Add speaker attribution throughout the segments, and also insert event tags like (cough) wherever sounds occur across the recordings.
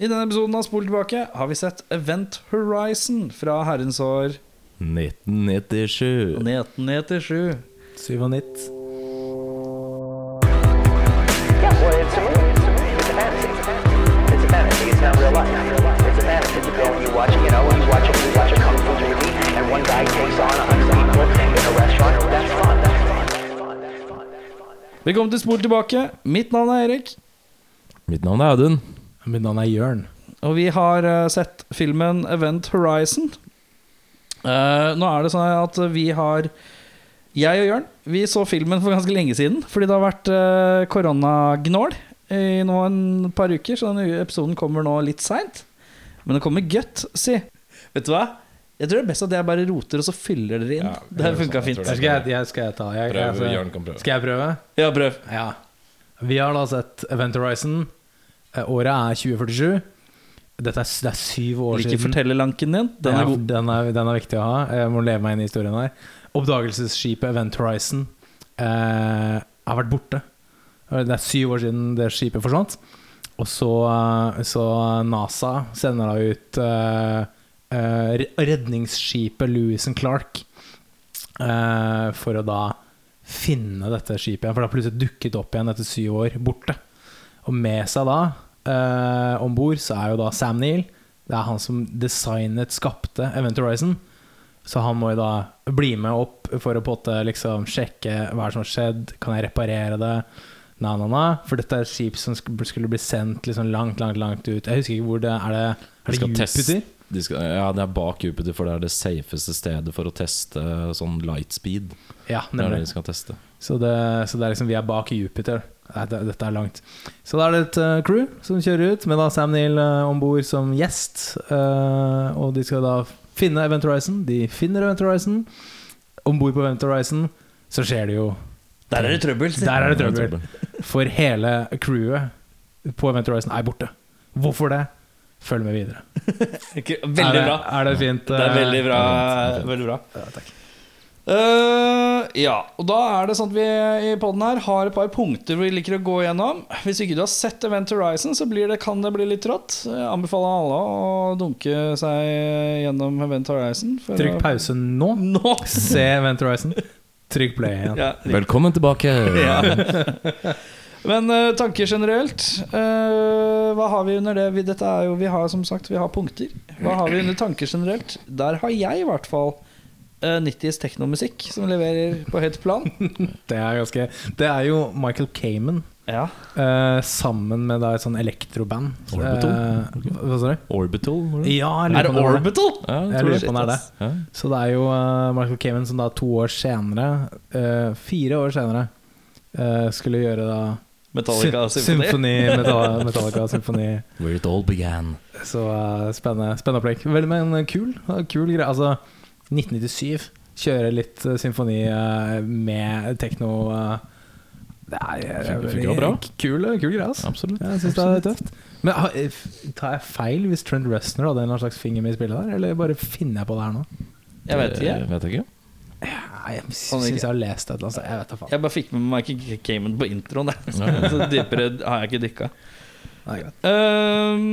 Speaker 1: I denne episoden av Spol tilbake har vi sett Event Horizon fra herrens år
Speaker 2: 1997.
Speaker 1: 1997.
Speaker 2: 97.
Speaker 3: Yeah, well, it's a movie. It's a movie. It's a fantasy. It's a fantasy. It's not real life. It's a fantasy. You go and you watch, you know, you watch, you watch a kung fu movie, and one guy takes on a hundred people in a restaurant. That's fun. That's fun. That's fun. That's fun. That's fun.
Speaker 1: Velkommen til Spol tilbake. Mitt navn er Erik,
Speaker 2: Mitt navn er Audun.
Speaker 4: Mitt navn er Jørn.
Speaker 1: og vi har eh, sett filmen Event Horizon. Eh, nå er det sånn at vi har Jeg og Jørn vi så filmen for ganske lenge siden fordi det har vært eh, koronagnål i nå en par uker, så denne episoden kommer nå litt seint. Men det kommer godt, si. Vet du hva? Jeg tror det er best at jeg bare roter, og så fyller dere inn.
Speaker 2: Ja,
Speaker 1: det her funka
Speaker 2: jeg tror
Speaker 1: fint.
Speaker 2: det.
Speaker 4: Skal jeg, jeg, skal jeg ta? Jeg,
Speaker 2: Prøv,
Speaker 4: altså,
Speaker 2: Jørn kan prøve.
Speaker 4: Skal jeg prøve?
Speaker 1: Ja, prøv.
Speaker 4: Ja. Vi har da sett Event Horizon. Eh, Året er 2047. Dette er, s- det er syv år
Speaker 1: Liker
Speaker 4: siden.
Speaker 1: fortellerlanken din. Den
Speaker 4: Ja,
Speaker 1: er god.
Speaker 4: Den er, den er viktig å ha. Jeg må leve meg inn i historien her. Oppdagelsesskipet Event Horizon eh, har vært borte. Det er syv år siden det skipet forsvant. Og så, så NASA sender da ut eh, eh, redningsskipet Louis and Clark eh, for å da finne dette skipet igjen. For det har plutselig dukket opp igjen etter syv år borte. Og med seg da eh, om bord så er jo da Sam Neill. Det er han som designet, skapte Event Horizon. Så han må jo da bli med opp for å på en måte liksom sjekke hva er det som har skjedd, kan jeg reparere det? Na, na, na. For dette er et skip som sk- skulle bli sendt liksom langt, langt langt ut. Jeg husker ikke hvor det er. det,
Speaker 2: De
Speaker 4: er det
Speaker 2: skal
Speaker 4: Jupiter?
Speaker 2: teste- de skal, ja, det er bak Jupiter, for det er det safeste stedet for å teste sånn light speed.
Speaker 4: Ja,
Speaker 2: Det er det
Speaker 4: nemlig.
Speaker 2: de skal teste.
Speaker 4: Så det, så det er liksom vi er bak Jupiter. Nei, det, dette er langt. Så da er det et eh, crew som kjører ut, med da Sam Neill uh, om bord som gjest. eh, og de skal da finne Event Horizon. De finner Event Horizon. Om bord på Event Horizon så skjer det jo
Speaker 1: Der er det trøbbel. si.
Speaker 4: Der er det
Speaker 2: Ja,
Speaker 4: trøbbel. For hele crewet på Event Horizon er borte. Hvorfor det? Følg med videre.
Speaker 1: Ikke-
Speaker 4: er
Speaker 1: Veldig
Speaker 4: det,
Speaker 1: bra.
Speaker 4: Er det fint?
Speaker 1: Det er
Speaker 4: eh,
Speaker 1: veldig bra.
Speaker 2: det er
Speaker 1: Veldig bra. Eh, ja, og da er det sånn at vi i podden her har et par punkter vi liker å gå gjennom. Hvis ikke du har sett Event Horizon, så blir det, kan det bli litt trått. Jeg anbefaler alle å dunke seg gjennom Event Horizon. for
Speaker 4: Trykk
Speaker 1: å-
Speaker 4: pause nå.
Speaker 1: Nå!
Speaker 4: Se Event Horizon. Trykk play igjen.
Speaker 1: Ja,
Speaker 2: Velkommen tilbake.
Speaker 1: Men eh, tanker generelt eh, Hva har vi under det? Vi, dette er jo, vi har som sagt vi har punkter. Hva har vi under tanker generelt? Der har jeg i hvert fall eh, 90s teknomusikk som leverer på høyt plan.
Speaker 4: Det er, ganske, det er jo Michael Kamen
Speaker 1: Ja,
Speaker 4: eh, sammen med da et sånn elektroband.
Speaker 2: Orbital?
Speaker 4: Eh, hva sa du?
Speaker 2: Orbital, var det?
Speaker 4: Ja, jeg lurer
Speaker 1: Er det
Speaker 4: på om var
Speaker 1: Orbital?
Speaker 2: Ja, jeg
Speaker 4: Jeg
Speaker 2: tror det.
Speaker 4: lurer på om det er det.
Speaker 1: Shit,
Speaker 2: Ja.
Speaker 4: Så det er jo eh, Michael Kamen som da to år senere, eh, fire år senere, eh, skulle gjøre da
Speaker 1: Metallica
Speaker 4: sym-
Speaker 1: Symfoni.
Speaker 4: symfoni, Metallica, Metallica Symfoni.
Speaker 2: Where it all began.
Speaker 4: Så eh, spennende, spennende opplegg. Vel, men kul, kul greie. Altså, 1997, kjøre litt eh, symfoni eh, med tekno eh, Det er,
Speaker 2: Fun-
Speaker 4: eh,
Speaker 2: funker jo bra.
Speaker 4: Kul, kul greie, altså.
Speaker 2: Absolutt.
Speaker 4: Jeg synes det er tøft. Men har- f- tar jeg feil hvis Trent Reznor hadde en eller annen slags finger med i spillet der, eller bare finner jeg på det her nå?
Speaker 1: Jeg vet ikke.
Speaker 2: Det Eh, Vet jeg ikke.
Speaker 4: Nei, jeg
Speaker 1: Sånn
Speaker 4: syns
Speaker 1: ikke.
Speaker 4: jeg har lest det et eller annet sted. Jeg vet da faen.
Speaker 1: Jeg bare fikk med meg Michael Kamen på introen. Der.
Speaker 2: Ja.
Speaker 1: (laughs) Så dypere har jeg ikke dykka.
Speaker 4: Nei, greit.
Speaker 1: Ehm,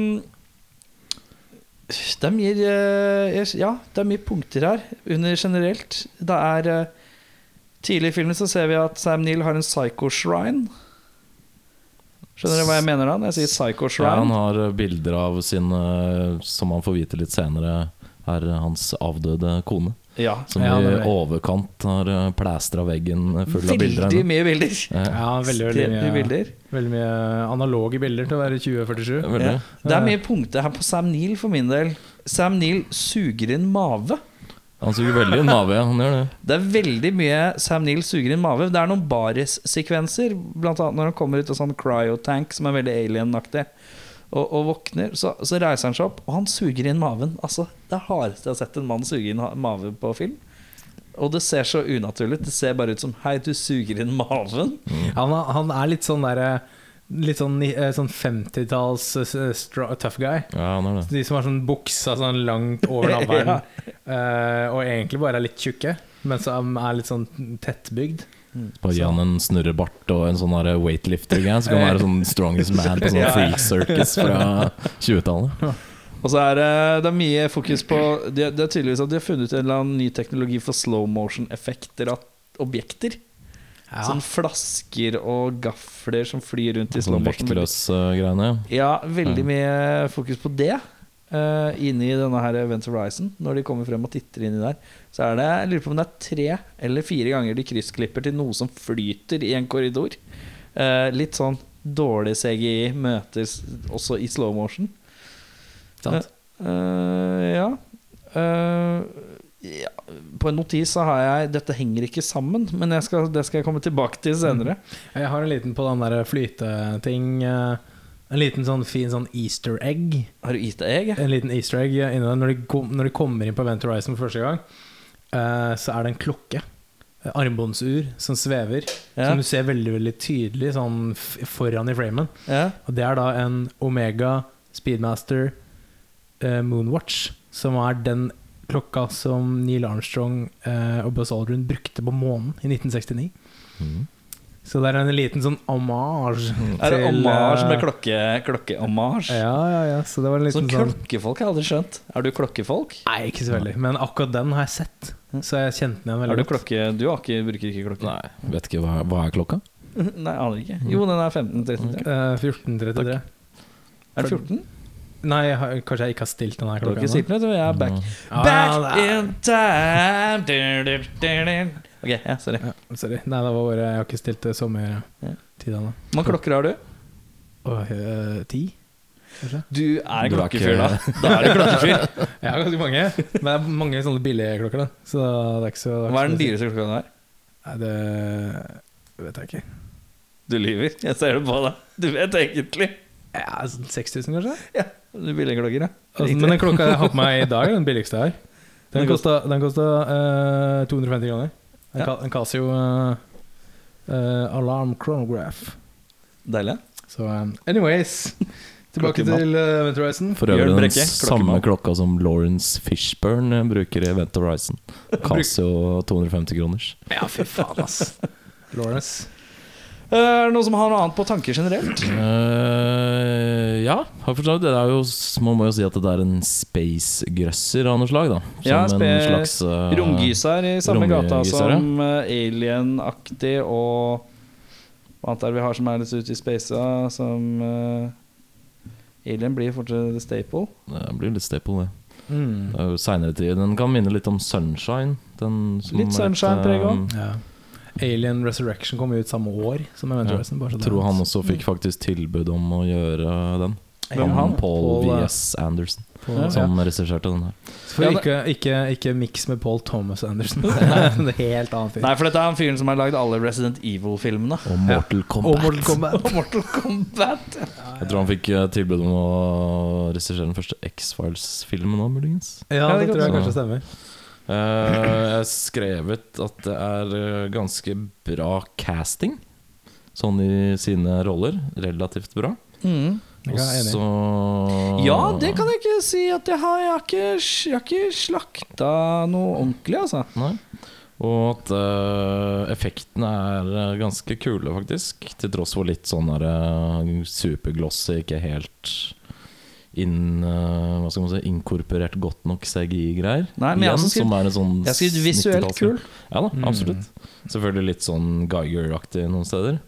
Speaker 1: det er mye eh, jeg- Ja, det er mye punkter her under generelt. Det er eh, Tidlig i filmen så ser vi at Sam Neill har en psycho-shrine. Skjønner du hva jeg mener da når jeg sier
Speaker 2: Ja, han
Speaker 1: psycho-shrine?
Speaker 2: har eh, bilder av sin, eh, som han får vite litt senere, er hans avdøde kone.
Speaker 1: Ja.
Speaker 2: Som
Speaker 4: Ja, det
Speaker 2: i
Speaker 4: er det.
Speaker 2: overkant har eh, plæstra veggen full av bilder. av
Speaker 1: Veldig
Speaker 2: henne.
Speaker 1: mye bilder.
Speaker 2: Ja,
Speaker 4: Ja, veldig, veldig
Speaker 1: Ekstremt mye
Speaker 4: mye,
Speaker 1: bilder.
Speaker 4: veldig mye analoge bilder til å være 2047.
Speaker 2: veldig.
Speaker 1: Ja. Det er mye punkter her på Sam Neill for min del. Sam Neill suger inn mave.
Speaker 2: Han suger veldig en mage, han gjør det.
Speaker 1: Det er veldig mye Sam Neill suger inn mave. Det er noen baris-sekvenser, blant annet når han kommer ut av sånn cryotank, som er veldig alien-aktig, og, og våkner. Så, så reiser han seg opp, og han suger inn maven. Altså, Det er hardeste jeg har sett en mann suge inn ha- mave på film. Og det ser så unaturlig ut. Det ser bare ut som Hei, du suger inn maven.
Speaker 4: Han, er- han er litt sånn derre Litt sånn, ni- eh, sånn 50-talls eh, stra- tough guy.
Speaker 2: Ja, han gjør det.
Speaker 4: De som har sånn buksa sånn langt over navlen, eh, og egentlig bare er litt tjukke, men som er litt sånn tettbygd.
Speaker 2: Bare gi han en snurrebart og en sånn der weightlifter-greie, så kan han være sånn strongest man på sånn freak circus fra 20-tallet.
Speaker 1: Og så er det, det er mye fokus på det, det er tydeligvis at de har funnet ut en eller annen ny teknologi for slow motion-effekter av objekter. Sånn flasker og gafler som flyr rundt i slow
Speaker 2: Sånn
Speaker 1: motion.
Speaker 2: vektløs-greiene.
Speaker 1: Ja, veldig
Speaker 4: Mm.
Speaker 1: mye fokus på det. Uh, inni denne her Event Horizon, når de kommer frem og titter inni der, så er det jeg lurer på om det er tre eller fire ganger de kryssklipper til noe som flyter i en korridor. Eh, litt sånn dårlig CGI møtes også i slow motion.
Speaker 2: Sant.
Speaker 1: Eh, ja. Eh, ja. På en notis så har jeg 'Dette henger ikke sammen', men jeg skal, det skal jeg komme tilbake til senere.
Speaker 4: Jeg har en liten på den der flyteting. eh, En liten sånn fin sånn easter egg.
Speaker 1: Har du gitt deg, jeg?
Speaker 4: En liten easter egg inni der. Når de, kom, når de kommer inn på Event Horizon for første gang, eh, så er det en klokke. eh, Armbåndsur som svever.
Speaker 1: Ja.
Speaker 4: Som du ser veldig veldig tydelig sånn f foran i framen.
Speaker 1: Ja.
Speaker 4: Og det er da en Omega Speedmaster eh, Moonwatch. Som er den klokka som Neil Armstrong eh, og Buzz Aldrin brukte på månen i 1969.
Speaker 2: Mhm.
Speaker 4: Så det er en liten sånn hommage.
Speaker 1: Er det
Speaker 4: til,
Speaker 1: ommage
Speaker 4: eh,
Speaker 1: med klokke, klokkeommage?
Speaker 4: Ja, ja, ja. Så det var en
Speaker 1: Sånn
Speaker 4: liten sånn
Speaker 1: klokkefolk har jeg aldri skjønt. Er du klokkefolk?
Speaker 4: Nei, ikke så veldig. Men akkurat den har jeg sett. Så jeg kjente den igjen
Speaker 1: Er
Speaker 4: veldig
Speaker 1: du klokke... Du Mm. har ikke, bruker ikke klokke?
Speaker 2: Nei, vet ikke hva, hva er klokka?
Speaker 1: (laughs) Nei, aner ikke.
Speaker 4: Mm.
Speaker 1: Jo, den er 15.33.
Speaker 4: Eh, 1433.
Speaker 1: Er det 14?
Speaker 4: Nei, jeg har, kanskje jeg ikke har stilt den her
Speaker 1: Du har
Speaker 4: klokka Ah,
Speaker 1: ikke stilt meg, du. Jeg er back.
Speaker 4: Mm. Ja,
Speaker 1: Back
Speaker 4: det er-
Speaker 1: in time Du, du, du, du. Ok, ja, sorry.
Speaker 4: Ja, sorry. Nei, det var bare Jeg har ikke stilt det
Speaker 1: Ja.
Speaker 4: sommertida nå.
Speaker 1: Hvor mange klokker har du?
Speaker 4: Og eh, ti? Kanskje?
Speaker 1: Du er en
Speaker 2: Du er
Speaker 1: klokkefyr, da.
Speaker 2: ikke-
Speaker 1: Da er du
Speaker 4: (laughs)
Speaker 1: klokkefyr.
Speaker 4: Jeg har ganske mange. Men det er mange sånne billige klokker, da. Så det er ikke så det
Speaker 1: Hva er den
Speaker 4: ikke så-
Speaker 1: dyreste klokka du har?
Speaker 4: Nei, det vet jeg ikke.
Speaker 1: Du lyver. Jeg ser det på deg. Du vet egentlig.
Speaker 4: Ja, sånn 6000, kanskje?
Speaker 1: Ja, du billige klokker, ja.
Speaker 4: Altså, men den klokka jeg har på meg i dag, er den billigste jeg har. (laughs) Den
Speaker 1: Den
Speaker 4: kosta den kosta, eh, 250 kroner. En,
Speaker 1: Ja.
Speaker 4: Ca- en Casio eh, eh, Alarm Chronograph.
Speaker 1: Deilig.
Speaker 4: Så eh, anyways Tilbake
Speaker 1: Klokkemann.
Speaker 4: til uh, Event Horizon.
Speaker 2: For
Speaker 1: Bjørn
Speaker 2: øvrig den
Speaker 1: Brekke,
Speaker 2: samme
Speaker 1: klokkemann.
Speaker 2: klokka som Lawrence Fishburn eh, bruker i Event Horizon. Casio 250 kroners.
Speaker 4: Ja, fy faen, (laughs) ass. Lawrence.
Speaker 1: Eh, Er det noen som har noe annet på tanker generelt?
Speaker 2: Eh, ja, har forstått. Det er jo, man må jo si at det er en space-grøsser av noe slag, da. Som
Speaker 1: Ja,
Speaker 2: en
Speaker 1: spe-
Speaker 2: slags eh,
Speaker 1: Romgyser i samme gata
Speaker 2: romgyser,
Speaker 1: som eh, Alien-aktig og hva annet er det vi har som er litt ute i spacea, som eh, Alien blir fortsatt the staple.
Speaker 2: Det blir litt staple, det.
Speaker 4: Mm.
Speaker 2: Det er jo senere tid. Den kan minne litt om Sunshine. Den som
Speaker 1: Litt
Speaker 2: er
Speaker 1: Sunshine-preg
Speaker 2: eh,
Speaker 1: også.
Speaker 4: Ja. Alien Resurrection kom jo ut samme år som Event
Speaker 2: Ja.
Speaker 4: Horizon. Bare så det
Speaker 2: Tror
Speaker 4: er-
Speaker 2: han også fikk
Speaker 1: Mm.
Speaker 2: faktisk tilbud om å gjøre den.
Speaker 1: Hvem han?
Speaker 2: Paul
Speaker 4: Paul, eh,
Speaker 2: VS Anderson,
Speaker 4: Paul, ja.
Speaker 2: som regisserte den her.
Speaker 4: For
Speaker 1: Ja, det-
Speaker 4: ikke, ikke, ikke miks med Paul Thomas (laughs) Anderson. det er en helt annen fyr.
Speaker 1: Nei, for dette er han fyren som har lagd alle Resident Evil-filmene.
Speaker 2: Og Mortal Kombat.
Speaker 4: Og Mortal Kombat.
Speaker 1: Og Mortal Kombat!
Speaker 2: Jeg tror han fikk eh, tilbud om å regissere den første X-Files-filmen òg, muligens.
Speaker 4: Ja,
Speaker 1: Ja,
Speaker 4: det
Speaker 1: det
Speaker 4: tror jeg
Speaker 2: kan-
Speaker 4: kanskje stemmer.
Speaker 2: Eh, jeg har skrevet at det er eh, ganske bra casting, sånn i sine roller. Relativt bra.
Speaker 1: Mm.
Speaker 4: Jeg er enig.
Speaker 2: så-
Speaker 1: Ja, det kan jeg ikke si at jeg har. Jeg har ikke, jeg har ikke slakta noe ordentlig, altså.
Speaker 2: Nei. Og at eh, effektene er eh, ganske kule, faktisk. Til tross for litt sånn der, eh, superglossy, ikke helt inn, eh, hva skal man si, inkorporert godt nok CGI-greier.
Speaker 1: Nei, men jeg har også skrevet-
Speaker 2: er en sånn
Speaker 1: jeg har skrevet visuelt
Speaker 2: 90-talls-
Speaker 1: kul.
Speaker 2: Ja da,
Speaker 4: Mm.
Speaker 2: absolutt. Selvfølgelig litt sånn Geiger-aktig noen steder.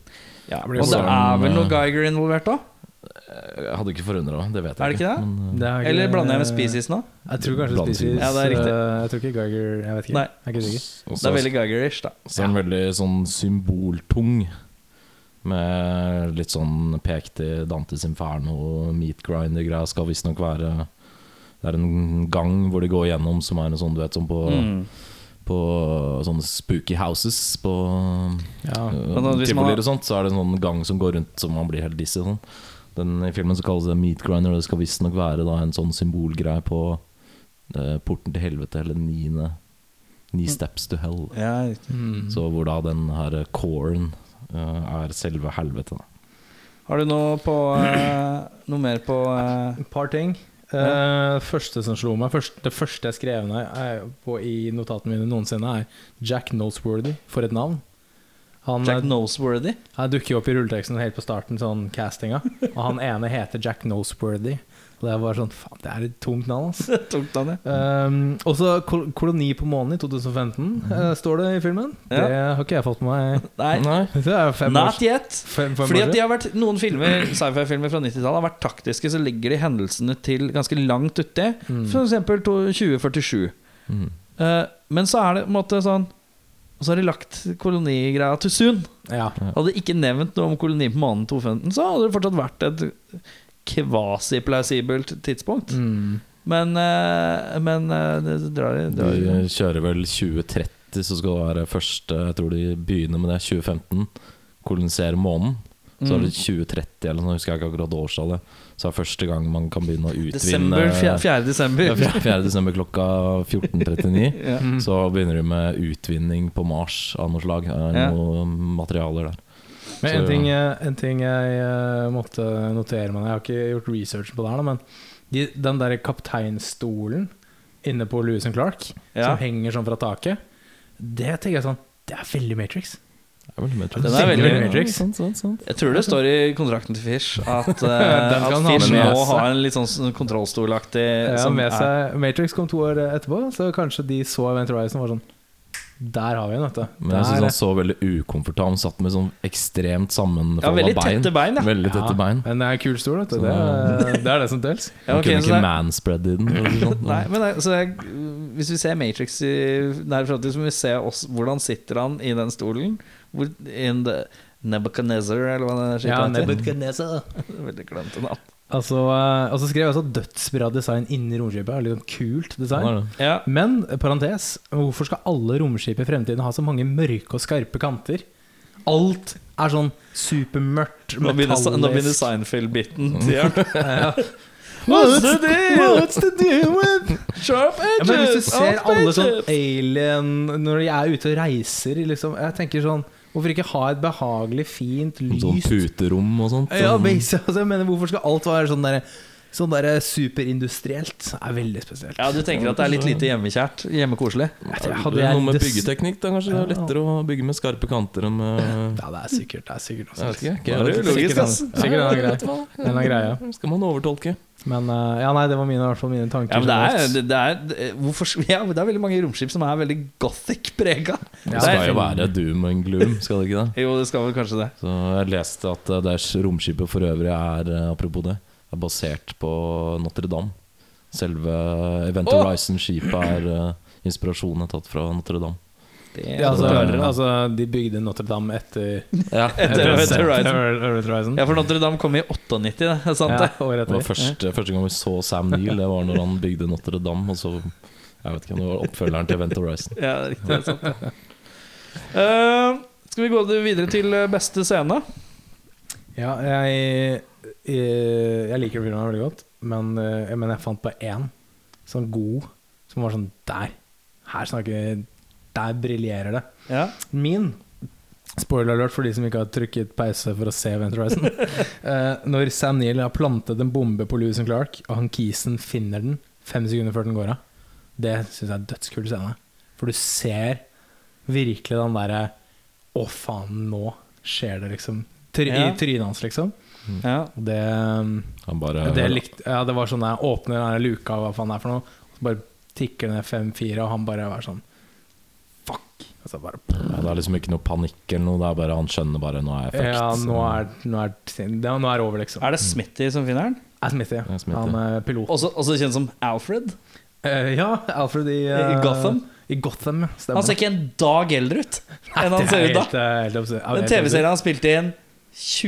Speaker 1: Ja,
Speaker 4: blir
Speaker 1: og det
Speaker 2: sånn,
Speaker 1: er vel noe
Speaker 2: eh,
Speaker 1: Geiger involvert òg?
Speaker 2: Jeg Eh, hadde ikke forundra meg, det vet
Speaker 1: Er
Speaker 2: jeg
Speaker 1: det ikke det?
Speaker 2: men, eh,
Speaker 4: Det er ikke-
Speaker 1: Eller blander jeg med Species nå?
Speaker 4: Jeg tror kanskje
Speaker 2: Blandet
Speaker 4: Species.
Speaker 2: inn.
Speaker 1: Ja, det er riktig.
Speaker 4: eh, jeg tror ikke Geiger Jeg vet ikke.
Speaker 1: Nei.
Speaker 4: Jeg er ikke sikker.
Speaker 2: eh, også
Speaker 1: Det er veldig Geiger-ish, da.
Speaker 2: Så er den veldig sånn symboltung. Med litt sånn pek til Dantes Inferno, meatgrinder-greia skal visstnok være Det er en gang hvor de går gjennom som er en sånn, du vet, sånn på,
Speaker 1: Mm.
Speaker 2: på sånne spooky houses på
Speaker 4: Ja.
Speaker 2: øh,
Speaker 1: Men da, hvis man har-
Speaker 2: tivolier og sånt. Så er det en sånn gang som går rundt som man blir helt dizzy. og Sånn. Den I filmen så kalles det meatgrinder, og det skal visstnok være da, en sånn symbolgreie på eh, porten til helvete, eller niende Ni
Speaker 1: Mm.
Speaker 2: steps to hell.
Speaker 1: Ja, riktig.
Speaker 4: Mm.
Speaker 2: Så hvor da den her coren eh, er selve helvete. Da.
Speaker 1: Har du noe på eh, Noe mer på eh,
Speaker 4: Et par ting. Eh, første som slo meg først, Det første jeg skrev ned er jo på i notatene mine noensinne, er Jack Nosworthy. For et navn. Han,
Speaker 1: Jack Noseworthy.
Speaker 4: han dukker jo opp i rulleteksten helt på starten, sånn castinga. Og han ene heter Jack Noseworthy. Og det er bare sånn Faen, det er et tungt navn, ass.
Speaker 1: Tungt navn, ja.
Speaker 4: Um, også kol Koloni på månen i 2015 eh, står det i filmen.
Speaker 1: Mhm. Ja.
Speaker 4: Det har ikke jeg fått med meg. (laughs)
Speaker 1: Nei,
Speaker 2: Nei.
Speaker 4: Det er fem år
Speaker 1: not yet.
Speaker 4: Fem, fem
Speaker 1: Fordi
Speaker 4: år
Speaker 1: at de
Speaker 4: siden.
Speaker 1: har vært, Noen filmer, sci-fi-filmer fra 90-tallet har vært taktiske, så legger de hendelsene til ganske langt uti.
Speaker 4: Mm.
Speaker 1: For eksempel to- 2047.
Speaker 2: Mm.
Speaker 1: Eh, men så er det på en måte sånn Og så har de lagt kolonigreia til Sun.
Speaker 4: ja.
Speaker 1: Hadde de ikke nevnt noe om koloni på månen 2015, så hadde det fortsatt vært et kvasiplausibelt tidspunkt.
Speaker 4: Mm.
Speaker 1: Men, eh, men eh, det det drar i drar i-
Speaker 2: De eh, kjører vel 2030, så skal det være første Jeg tror de begynner med det 2015. Kolonisere månen. Så er det
Speaker 1: Mm.
Speaker 2: 2030 eller noe, husker jeg ikke akkurat årstallet. Så er det første gang man kan begynne å utvinne
Speaker 1: Desember,
Speaker 4: eh,
Speaker 1: 4.
Speaker 2: Ja,
Speaker 1: desember.
Speaker 2: 4. desember klokka 14.39.
Speaker 1: (laughs) Ja.
Speaker 4: Mm.
Speaker 2: Så begynner de med utvinning på Mars av noe slag. Er det
Speaker 1: Ja.
Speaker 2: noen materialer der.
Speaker 4: Men
Speaker 2: Så-
Speaker 4: en ting, eh, en ting jeg eh, måtte notere meg Jeg har ikke gjort research på det her, da, men de, den der kapteinstolen inne på Louis and Clark,
Speaker 1: Ja.
Speaker 4: som henger sånn fra taket, det tenker jeg sånn Det er veldig Matrix.
Speaker 2: Det er veldig Matrix.
Speaker 1: Den er veldig
Speaker 4: Matrix.
Speaker 2: Ja, sant, sant, sant.
Speaker 1: Jeg tror det står i kontrakten til Fish
Speaker 4: (laughs)
Speaker 1: at, eh,
Speaker 4: Den
Speaker 1: at
Speaker 4: kan han
Speaker 1: Fish
Speaker 4: ha med
Speaker 1: må
Speaker 4: seg.
Speaker 1: ha en litt sånn s- kontrollstolaktig
Speaker 4: Ja,
Speaker 1: som
Speaker 4: med
Speaker 1: er-
Speaker 4: seg, Matrix kom to år eh, etterpå, så kanskje de så Event Horizon og var sånn Der har vi den, vet du.
Speaker 2: Men jeg
Speaker 4: Der eh,
Speaker 2: synes
Speaker 4: er-
Speaker 2: han så veldig ukomfortabel. Han satt med sånn ekstremt
Speaker 1: Ja,
Speaker 2: sammenfallet
Speaker 1: veldig
Speaker 2: bein.
Speaker 1: tette bein, ja.
Speaker 2: Veldig tette bein.
Speaker 4: Men det er en kul stol, vet du.
Speaker 2: Så-
Speaker 4: Det, er- det er det
Speaker 2: (laughs)
Speaker 4: som tels.
Speaker 1: Ja,
Speaker 2: Han
Speaker 1: ok,
Speaker 2: kunne
Speaker 1: så det
Speaker 2: ikke
Speaker 1: er-
Speaker 2: manspread i den. for å si det
Speaker 1: (laughs)
Speaker 2: sånn.
Speaker 1: Nei, men det, så jeg, Hvis vi ser Matrix i nær framtid, så må vi se oss, hvordan sitter han i den stolen. Hvor, in the Nebuchadnezzar, eller hva det skiter
Speaker 4: Ja,
Speaker 1: heter.
Speaker 4: Nebuchadnezzar.
Speaker 1: Veldig glemt navn.
Speaker 4: Altså, eh, og så skrev jeg også dødsbra design inni romskipet. er Litt sånn kult
Speaker 2: Ja, det
Speaker 4: design.
Speaker 2: er det.
Speaker 1: Ja.
Speaker 4: Men eh, parentes, hvorfor skal alle romskip i fremtiden ha så mange mørke og skarpe kanter? Alt er sånn supermørkt,
Speaker 1: Nå begynner,
Speaker 4: metallisk
Speaker 1: nå begynner Seinfeld-biten. sier
Speaker 4: (laughs)
Speaker 1: han.
Speaker 4: Ja.
Speaker 1: What's the deal?
Speaker 4: What's the deal with
Speaker 1: Sharp
Speaker 4: ja, men Hvis
Speaker 1: edges!
Speaker 4: du ser
Speaker 1: sharp
Speaker 4: alle sånn
Speaker 1: edges.
Speaker 4: alien Når de er ute og reiser liksom, Jeg tenker sånn Hvorfor ikke ha et behagelig, fint,
Speaker 2: Sånn
Speaker 4: lyst
Speaker 2: puterom og sånt. sånn-
Speaker 4: Ja, basic, altså, jeg mener, Hvorfor skal alt være sånn der, sånn der superindustrielt? Det er veldig spesielt.
Speaker 1: Ja, du tenker at det er litt lite hjemmekjært? Hjemmekoselig?
Speaker 4: Jeg
Speaker 2: Det
Speaker 4: hadde
Speaker 2: er
Speaker 4: jeg
Speaker 2: noe med
Speaker 4: dess-
Speaker 2: byggeteknikk. Da, kanskje det er
Speaker 4: Ja.
Speaker 2: lettere å bygge med skarpe kanter enn med
Speaker 4: Ja, det er sikkert. Det er sikkert
Speaker 2: Jeg vet
Speaker 4: noe
Speaker 2: ikke.
Speaker 4: sånt.
Speaker 2: ikke jeg
Speaker 1: Det er
Speaker 2: vet
Speaker 1: jo
Speaker 2: ikke.
Speaker 1: logisk,
Speaker 4: Sikkert
Speaker 1: ass.
Speaker 4: en- sikkert en greie.
Speaker 2: En
Speaker 4: eller annen greie,
Speaker 2: Skal man overtolke?
Speaker 4: Men eh, ja, nei, det var mine, i hvert fall mine tanker. Sånn
Speaker 1: Ja, men det er,
Speaker 4: generelt.
Speaker 1: det, det er, det- hvorfor, (laughs) ja, det er veldig mange romskip som er veldig gothic-prega.
Speaker 4: Ja,
Speaker 2: det skal
Speaker 4: det er-
Speaker 2: jo være doom and gloom, skal det ikke det?
Speaker 1: Jo, det skal vel kanskje det.
Speaker 2: Så jeg leste at eh, det er- romskipet for øvrig er, eh, apropos det, er basert på Notre-Dame. Selve Event
Speaker 1: Åh!
Speaker 2: Horizon-skipet er eh, inspirasjonen er tatt fra Notre-Dame.
Speaker 1: det
Speaker 4: ja, altså,
Speaker 2: det er-
Speaker 4: altså, de bygde Notre-Dame etter
Speaker 2: Ja,
Speaker 1: Etter
Speaker 2: det
Speaker 1: Event Horizon.
Speaker 4: Horizon.
Speaker 1: ja, for Notre-Dame kom i 98, det er sant
Speaker 4: Ja,
Speaker 1: det?
Speaker 4: året
Speaker 2: var
Speaker 4: etter.
Speaker 2: første, første gang vi så Sam Neill, det var når han bygde Notre-Dame. Og så, jeg vet ikke om det var oppfølgeren til Event Horizon.
Speaker 1: Ja, det er riktig. Det er sant, det. Eh, skal vi gå videre til eh, beste scene?
Speaker 4: Ja, jeg, jeg, jeg liker filmen veldig godt, men, eh, men jeg fant på én sånn god som var sånn Der! Her snakker Der briljerer det.
Speaker 1: Ja.
Speaker 4: Min Spoiler alert for de som ikke har trykket pause for å se Event Horizon. Eh, når Sam Neill har plantet en bombe på Lewis and Clark, og han Kisen finner den fem sekunder før den går av, det syns jeg er en dødskul scene. For du ser virkelig den derre Å, faen, nå skjer det, liksom. Try
Speaker 1: Ja.
Speaker 4: I trynet hans, liksom.
Speaker 1: Ja.
Speaker 4: Og Det,
Speaker 2: Han bare
Speaker 4: det, likte, ja, det var sånn jeg åpner den her luka, hva faen det er for noe, og så bare tikker det ned fem-fire, og han bare var sånn Fuck! Og så bare
Speaker 2: ja, Det er liksom ikke noe panikk eller noe, det er bare han skjønner bare nå er jeg fucked.
Speaker 4: Ja, nå er, nå er, det, nå er det over, liksom.
Speaker 1: Er det Smitty som finner den?
Speaker 4: Er Smithy,
Speaker 2: Ja,
Speaker 4: ja.
Speaker 2: Smithy.
Speaker 4: Han er pilot.
Speaker 1: Også, også kjent som Alfred.
Speaker 4: Eh, ja, Alfred i,
Speaker 1: I
Speaker 4: eh,
Speaker 1: Gotham?
Speaker 4: I Gotham, ja. Stemmer.
Speaker 1: Han ser ikke en dag eldre ut enn han
Speaker 4: Det er
Speaker 1: ser ut da.
Speaker 4: helt, eh, helt absurd. Ja,
Speaker 1: Den
Speaker 4: helt absurd.
Speaker 1: TV-serien han spilte inn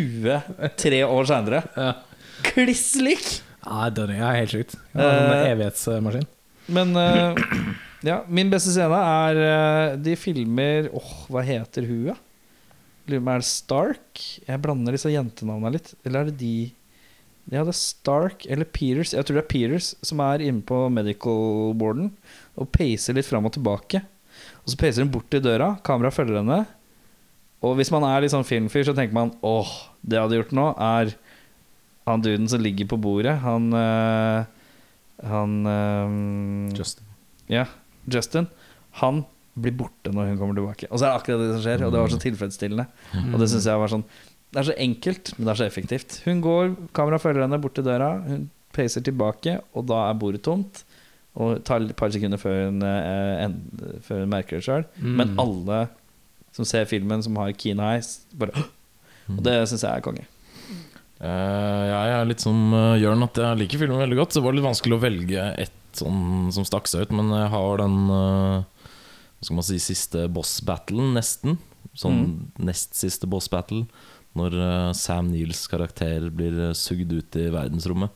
Speaker 1: 23 år seinere.
Speaker 4: Ja.
Speaker 1: Kliss lik!
Speaker 4: Ja, det er- ja, helt sjukt. Ja, han er en
Speaker 1: Eh,
Speaker 4: evighetsmaskin.
Speaker 1: Men eh, ja, min beste scene er eh, De filmer Åh, hva heter hun, da? Lurer på om det er Stark? Jeg blander disse jentenavnene litt. Eller er det de Ja, det er Stark eller Peters. Jeg tror det er Peters som er inne på medical boarden og peiser litt fram og tilbake. Og så peiser hun bort til døra, kameraet følger henne. Og hvis man er litt sånn filmfyr, så tenker man åh, det jeg hadde gjort nå, er han duden som ligger på bordet, han eh, Han eh,
Speaker 2: Just.
Speaker 1: ja, Justin. Han blir borte når hun kommer tilbake. Og så er det akkurat det som skjer, og det var så tilfredsstillende. Og det synes jeg var sånn Det er så enkelt, men det er så effektivt. Hun går, kameraet følger henne bort til døra, hun peiser tilbake, og da er bordet tomt. Og det tar et par sekunder før hun, eh, en, før hun merker det sjøl.
Speaker 4: Mm.
Speaker 1: Men alle som ser filmen, som har keen eyes, bare (gasps) «Åh!» Og det syns jeg er konge.
Speaker 2: Eh, jeg er litt som eh, Jørn at jeg liker filmen veldig godt. Så det var litt vanskelig å velge ett sånn som stakk seg ut. Men jeg har den eh, hva skal man si, siste boss-battlen, nesten. Sånn nest siste boss-battle. Når eh, Sam Neils karakter blir eh, sugd ut i verdensrommet.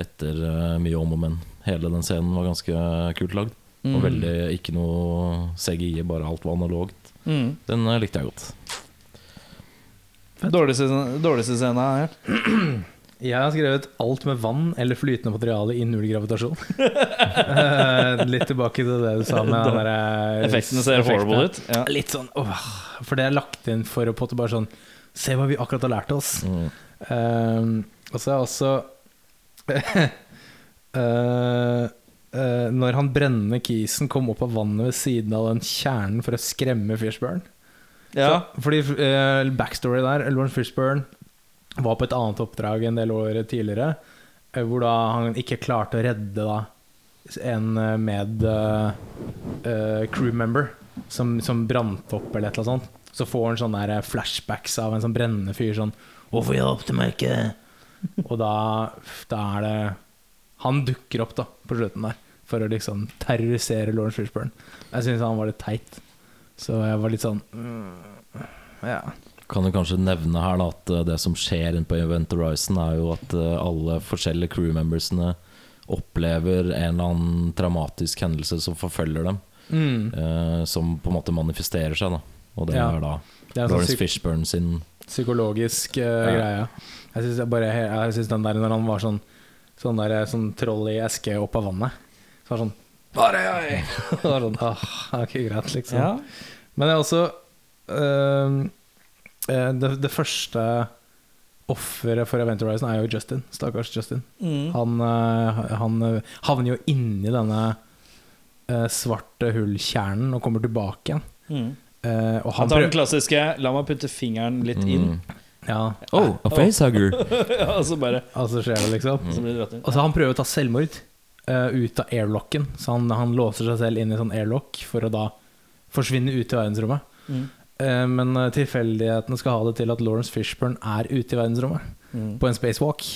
Speaker 2: Etter eh, mye om og men. Hele den scenen var ganske kult lagd.
Speaker 1: Mm.
Speaker 2: Og veldig ikke noe CGI, bare alt var analogt.
Speaker 1: Mm.
Speaker 2: Den eh, likte jeg godt.
Speaker 1: Dårligste, dårligste scene her.
Speaker 4: Jeg har skrevet 'alt med vann eller flytende materiale i null (laughs) gravitasjon'. Eh, Litt tilbake til det du sa med den derre
Speaker 1: Effektene ser horrible ut. Ja.
Speaker 4: Litt sånn åh, For det er lagt inn for å potte bare sånn Se hva vi akkurat har lært oss.
Speaker 2: Mm.
Speaker 4: Eh, og så er jeg også (laughs) Eh, eh, Når han brennende kisen kom opp av vannet ved siden av den kjernen for å skremme Fishburn.
Speaker 1: Ja.
Speaker 4: Så, fordi eh, backstory der Lawrence Fishburn var på et annet oppdrag en del år tidligere, eh, hvor da han ikke klarte å redde da en eh, med eh, eh, crew member som, som brant opp eller et eller annet sånt. Så får han sånne der, eh, flashbacks av en sånn brennende fyr sånn 'Hvorfor hjalp du meg ikke?' Og da, da er det Han dukker opp da på slutten der for å liksom terrorisere Lawrence Fishburn. Jeg syns han var litt teit, så jeg var litt sånn mm, Ja.
Speaker 2: Kan jo kanskje nevne her da at eh, det som skjer inne på Event Horizon, er jo at eh, alle forskjellige crewmembersene opplever en eller annen traumatisk hendelse som forfølger dem.
Speaker 4: Mm.
Speaker 2: eh, som på en måte manifesterer seg, da. Og det
Speaker 4: Ja.
Speaker 2: er da
Speaker 4: Det er en sånn
Speaker 2: Lawrence
Speaker 4: psyk
Speaker 2: Fishburn sin
Speaker 4: psykologisk eh, greie. Jeg syns bare Jeg synes den der når han var sånn Sånn der sånn troll i eske opp av vannet. Så var det sånn Bare jeg! (laughs) Det var sånn, ah, ok, greit, liksom.
Speaker 1: ja.
Speaker 4: Men jeg er også øhm, eh, det, det første offeret for Event Horizon er jo Justin. Stakkars Justin.
Speaker 1: Mm.
Speaker 4: Han, øh, han øh, havner jo inni denne øh, svarte hullkjernen og kommer tilbake igjen.
Speaker 1: Mm.
Speaker 4: Eh, og han
Speaker 1: Han tar den
Speaker 4: prøver
Speaker 1: klassiske 'la meg putte fingeren litt inn',
Speaker 2: Mm.
Speaker 4: Ja,
Speaker 2: Oh, a (laughs) facehugger! Mm.
Speaker 1: (laughs) og så bare
Speaker 4: altså skjer det, liksom.
Speaker 1: så blir det dratt inn.
Speaker 4: Altså, han prøver å ta selvmord eh, ut av airlocken. Så han, han låser seg selv inn i sånn airlock for å da forsvinne ut i verdensrommet.
Speaker 1: Mm.
Speaker 4: Eh, men eh, tilfeldighetene skal ha det til at Lawrence Fishburn er ute i verdensrommet.
Speaker 1: Mm.
Speaker 4: På en spacewalk.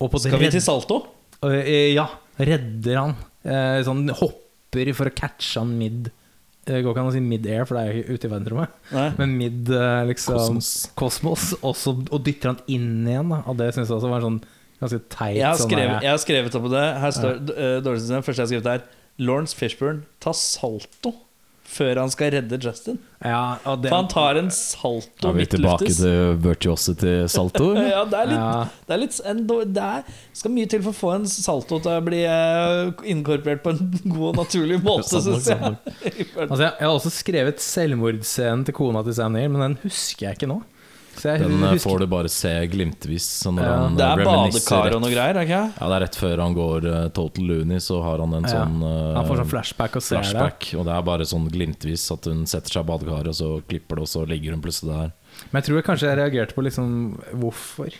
Speaker 4: Og på
Speaker 1: Skal vi
Speaker 4: redd-
Speaker 1: til Salto?
Speaker 4: og, eh, Ja, redder han. Eh, sånn hopper for å catche han mid Det går ikke an å si mid-air, for det er jo ikke ute i verdensrommet.
Speaker 1: Nei.
Speaker 4: Men mid eh, liksom
Speaker 2: Kosmos.
Speaker 4: kosmos, og, så, og dytter han inn igjen. Da. Og det syns jeg også var en sånn ganske teit
Speaker 1: Jeg har
Speaker 4: sånn
Speaker 1: skrevet,
Speaker 4: der-
Speaker 1: jeg har skrevet opp på det. Her står d- eh, dårligste scene. Første jeg har skrevet, er Lawrence Fishburn tar salto før han skal redde Justin.
Speaker 4: Ja, og det,
Speaker 1: For han tar en salto
Speaker 2: Da er vi tilbake
Speaker 1: midtluftes.
Speaker 2: til virtuosity salto. eller?
Speaker 1: (laughs) Ja, det er litt,
Speaker 4: (laughs) Ja.
Speaker 1: det er litt en, dår- Det er, skal mye til for å få en salto til å bli eh, inkorporert på en god og
Speaker 2: (laughs)
Speaker 1: naturlig måte,
Speaker 2: Sant nok,
Speaker 1: syns jeg. (laughs)
Speaker 2: sant
Speaker 4: altså, jeg, jeg har også skrevet selvmordscenen til kona til Sam Neill, men den husker jeg ikke nå. Så jeg
Speaker 2: Den eh,
Speaker 4: husker-
Speaker 2: får du bare se glimtvis. Så når
Speaker 4: Ja.
Speaker 2: han eh,
Speaker 1: Det er
Speaker 2: reminiscer
Speaker 1: badekar
Speaker 2: rett-
Speaker 1: og noe greier, er det ikke?
Speaker 2: Ja, det er rett før han går eh, total loony, så har han en
Speaker 4: Ja.
Speaker 2: sånn eh,
Speaker 4: han får sånn flashback og ser
Speaker 2: flashback. Og det er bare sånn glimtvis at hun setter seg i badekaret, og så klipper det, og så ligger hun plutselig der.
Speaker 4: det. Men jeg tror jeg kanskje jeg reagerte på liksom hvorfor.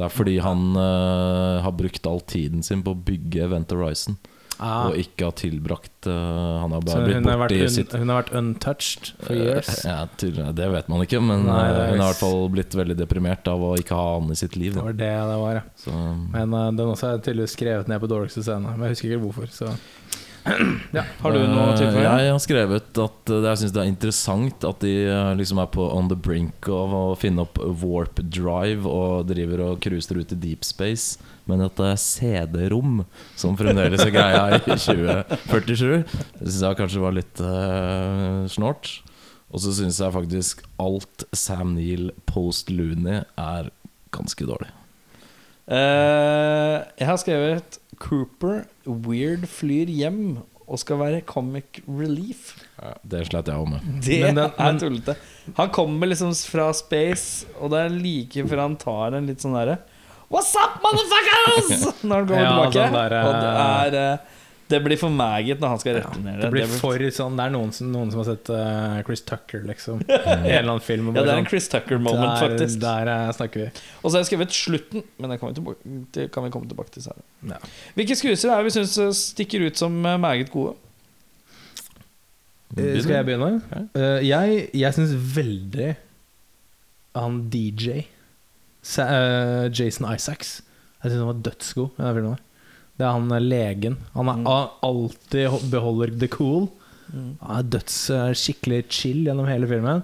Speaker 2: Det er fordi han eh, har brukt all tiden sin på å bygge Event Horizon,
Speaker 4: Ah,
Speaker 2: og ikke har tilbrakt eh, Han har
Speaker 4: så
Speaker 2: bare
Speaker 4: hun
Speaker 2: blitt
Speaker 4: har, vært
Speaker 2: borti
Speaker 4: un,
Speaker 2: sitt Eh,
Speaker 4: hun har vært untouched for years.
Speaker 2: (laughs) Ja, tydelig- det vet man ikke, men
Speaker 4: Nei, det
Speaker 2: eh,
Speaker 4: er-
Speaker 2: hun har i hvert fall blitt veldig deprimert av å ikke ha han i sitt liv.
Speaker 4: Det
Speaker 2: Da.
Speaker 4: var det det var, ja.
Speaker 2: Så,
Speaker 4: Men eh, den også er tydeligvis skrevet ned på dårligste scene. Men jeg husker ikke hvorfor. Så. (clears throat)
Speaker 1: Har du noe
Speaker 2: Eh,
Speaker 1: til for meg?
Speaker 2: Jeg har skrevet at eh, jeg syns det er interessant at de eh, liksom er på on the brink av å finne opp warp drive og driver og cruiser ut i deep space, men at det er CD-rom som fremdeles er greia i (laughs) 2047. Det syns jeg kanskje var litt eh, snålt. Og så syns jeg faktisk alt Sam Neill post Looney er ganske dårlig.
Speaker 1: Eh, jeg har skrevet Cooper Weird flyr hjem og skal være comic relief. (laughs)
Speaker 2: Det slet jeg òg med.
Speaker 1: Det
Speaker 4: Men den- men-
Speaker 1: er tullete. Han kommer liksom fra space, og det er like før han tar en litt sånn
Speaker 4: (laughs)
Speaker 1: derre What's up, motherfuckers! (laughs) Når han kommer
Speaker 4: Ja,
Speaker 1: tilbake.
Speaker 4: den der, eh,
Speaker 1: og det er eh, Det blir for meget når han skal returnere.
Speaker 4: Det blir for sånn Det er noen som, noen som har sett eh, Chris Tucker,
Speaker 1: (laughs)
Speaker 4: liksom. I en eller annen film. og
Speaker 1: ja,
Speaker 4: bare
Speaker 1: det er
Speaker 4: sånn,
Speaker 1: en Chris Tucker-moment,
Speaker 4: der,
Speaker 1: faktisk.
Speaker 4: Der eh, snakker vi.
Speaker 1: Og så har jeg skrevet 'slutten', men det kan vi, tilbake, det kan vi komme tilbake til senere.
Speaker 4: Ja.
Speaker 1: Hvilke skuespillere er det vi syns stikker ut som eh, meget gode?
Speaker 4: Eh, Skal jeg begynne?
Speaker 2: Ja.
Speaker 4: Eh, jeg jeg syns veldig han DJ Sa eh, Jason Isaacs. Jeg syns han var dødsgod. i den filmen her. Det er han eh, legen. Han er,
Speaker 1: Mm.
Speaker 4: han alltid ho- beholder the cool.
Speaker 1: Mm.
Speaker 4: Han er døds, eh, skikkelig chill gjennom hele filmen.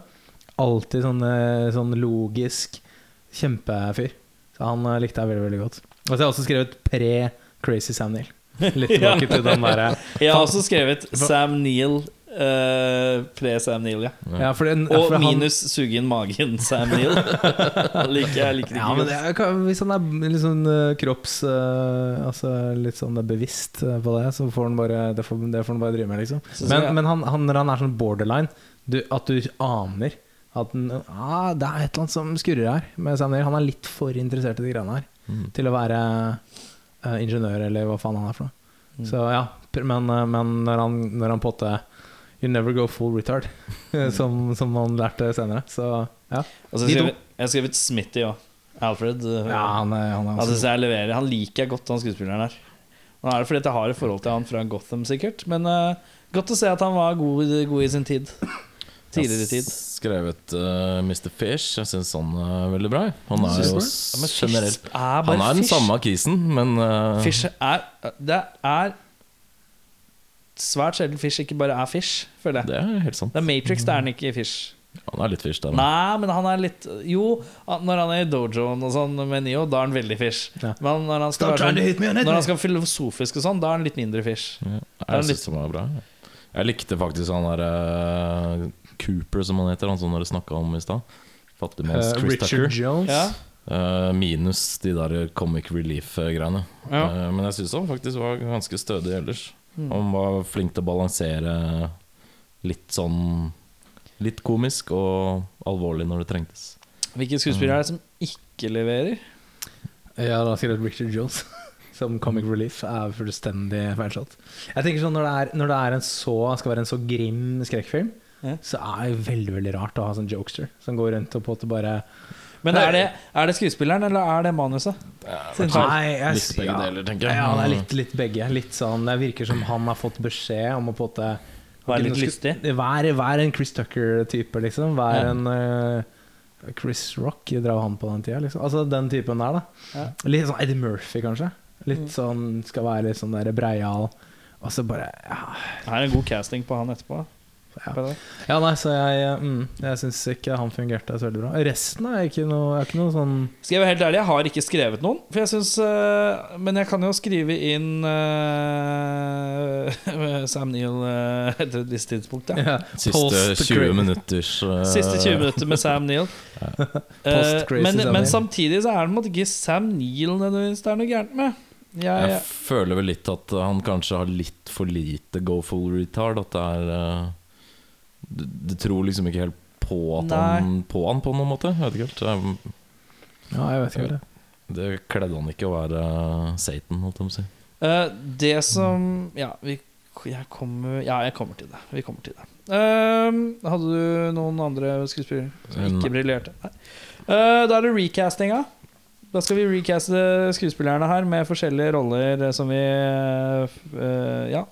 Speaker 4: Alltid sånn, eh, sånn logisk kjempefyr. Så han eh, likte jeg veldig veldig godt. Og så har jeg også skrevet pre Crazy Sam Neill.
Speaker 1: (laughs)
Speaker 4: Litt
Speaker 1: Ja.
Speaker 4: tilbake til den derre
Speaker 1: Jeg har også skrevet
Speaker 4: Hva-
Speaker 1: Sam Neill. eh, Pre-Sam Neill, ja.
Speaker 4: ja, for den-
Speaker 1: Og
Speaker 4: for han-
Speaker 1: minus suge inn magen, (laughs) Sam Neill. Jeg liker, jeg liker det
Speaker 4: Ja,
Speaker 1: ikke
Speaker 4: men
Speaker 1: godt.
Speaker 4: det er, kan- hvis han er litt sånn eh, kropps eh, Altså litt sånn bevisst eh, på det, så får han bare det får, det får han bare drive med, liksom.
Speaker 1: Synes
Speaker 4: Men,
Speaker 1: jeg-
Speaker 4: men han, han, når han er sånn borderline, du, at du aner at den, ah, det er et eller annet som skurrer her med Sam Neill. Han er litt for interessert i de greiene her til å være eh, ingeniør, eller hva faen han er for noe. Så ja, pr- men, eh, men når han, når han potte You never go full retard, (laughs) Mm. som, som han lærte senere. Så ja.
Speaker 1: Og så har
Speaker 4: De
Speaker 1: jeg
Speaker 4: to.
Speaker 1: skrevet- jeg har skrevet Smitty òg. Alfred. eh,
Speaker 4: ja Altså, han, er- han er
Speaker 1: Han
Speaker 4: også
Speaker 1: synes jeg leverer. Han liker jeg godt, han skuespilleren her. Nå er det fordi at jeg har et forhold til han fra Gotham, sikkert. Men eh, godt å se at han var god, god i sin tid. Tidligere
Speaker 2: Jeg
Speaker 1: tid.
Speaker 2: har skrevet eh, Mr. Fish. Jeg syns han er veldig bra. Han er
Speaker 4: Synes
Speaker 1: Ja, men Fish
Speaker 2: jo s-
Speaker 4: du det?
Speaker 2: generelt
Speaker 1: er bare
Speaker 2: Han er den
Speaker 1: Fish.
Speaker 2: samme kisen, men eh,
Speaker 1: Fish er Det er svært sjelden Fish ikke bare er Fish, føler jeg.
Speaker 2: Det er helt sant.
Speaker 1: Det er Matrix, det er han ikke i Fish.
Speaker 2: Han er litt fish der. da.
Speaker 1: Nei, men han er litt Jo, han- når han er i dojoen og sånn med Neo, da er han veldig fish.
Speaker 4: Ja.
Speaker 1: Men når han skal,
Speaker 4: Stop
Speaker 1: være
Speaker 4: trying to hit me on
Speaker 1: sånn,
Speaker 4: it,
Speaker 1: når han
Speaker 4: man.
Speaker 1: skal filosofisk og sånn, da er han litt mindre fish. er
Speaker 2: Ja, Jeg
Speaker 1: litt-
Speaker 2: synes han var bra. jeg. Jeg likte faktisk han der eh, Cooper, som han heter, han som dere snakka om i stad. Fattigmanns
Speaker 4: Eh,
Speaker 2: Chris Tucker.
Speaker 4: Richard Jones.
Speaker 1: Ja.
Speaker 2: Eh, minus de der comic relief-greiene.
Speaker 1: Ja.
Speaker 2: Eh, men jeg syns han faktisk var ganske stødig ellers.
Speaker 4: Mm.
Speaker 2: Han var flink til å balansere litt sånn Litt komisk og alvorlig når det trengtes.
Speaker 1: Hvilke skuespillere er det som ikke leverer?
Speaker 4: Ja, da skrev jeg Richard Jones. (laughs) Som comic relief er fullstendig feilslått. Jeg tenker sånn, når det, er, når det er en så, skal være en så grim skrekkfilm,
Speaker 1: Ja.
Speaker 4: så er det veldig veldig rart å ha sånn jokester som går rundt og på en måte bare
Speaker 1: Men er det, er det skuespilleren, eller er det manuset? Sin feil.
Speaker 4: Nei, jeg,
Speaker 2: Litt begge deler, tenker jeg. Mm.
Speaker 4: Ja, det er litt, litt begge. Litt sånn, det virker som han har fått beskjed om å på en måte
Speaker 1: Være litt
Speaker 4: Nå skal-
Speaker 1: lystig.
Speaker 4: Vær, vær en Chris Tucker-type, liksom. Vær
Speaker 1: Ja.
Speaker 4: en eh, Chris Rock drev han på den tida, liksom. Altså den typen der, da.
Speaker 1: Ja. Mm.
Speaker 4: Litt sånn Eddie Murphy, kanskje. Litt sånn skal være litt sånn der breial. Og så bare Ja,
Speaker 1: Det er en god casting på han etterpå.
Speaker 4: Ja.
Speaker 1: På det.
Speaker 4: ja nei, så jeg eh, mm, Jeg syns ikke han fungerte så veldig bra. Resten er ikke noe, er ikke noe sånn
Speaker 1: Skal jeg være helt ærlig, jeg har ikke skrevet noen. For jeg synes, eh, men jeg kan jo skrive inn eh, (laughs) Sam Neill eh, etter et visst tidspunkt. Ja.
Speaker 4: ja,
Speaker 2: Siste
Speaker 4: post-
Speaker 2: 20 minutters eh,
Speaker 1: Siste 20 minutter med Sam
Speaker 4: (laughs)
Speaker 1: Neill. Eh,
Speaker 4: Post-crazy
Speaker 1: men,
Speaker 4: Sam
Speaker 1: men
Speaker 4: Neill.
Speaker 1: samtidig så er det på en måte ikke Sam Neill nødvendigvis det er noe gærent med. Jeg,
Speaker 2: Jeg føler vel litt at han kanskje har litt for lite go full retard. At det er eh, Du, du tror liksom ikke helt på at han på han på noen måte. Jeg vet ikke helt. Det er-
Speaker 4: Ja, jeg vet ikke hva det er.
Speaker 2: Det kledde han ikke å være Satan, holdt jeg på å si.
Speaker 1: Eh, det som Ja, vi, jeg, kommer, ja jeg kommer til det. Vi kommer til det. Ehm, hadde du noen andre skuespillere som
Speaker 2: Nei.
Speaker 1: ikke briljerte? Nei. Eh, da er det recastinga. Da skal vi recaste skuespillerne her med forskjellige roller eh, som vi eh, f- eh, Ja.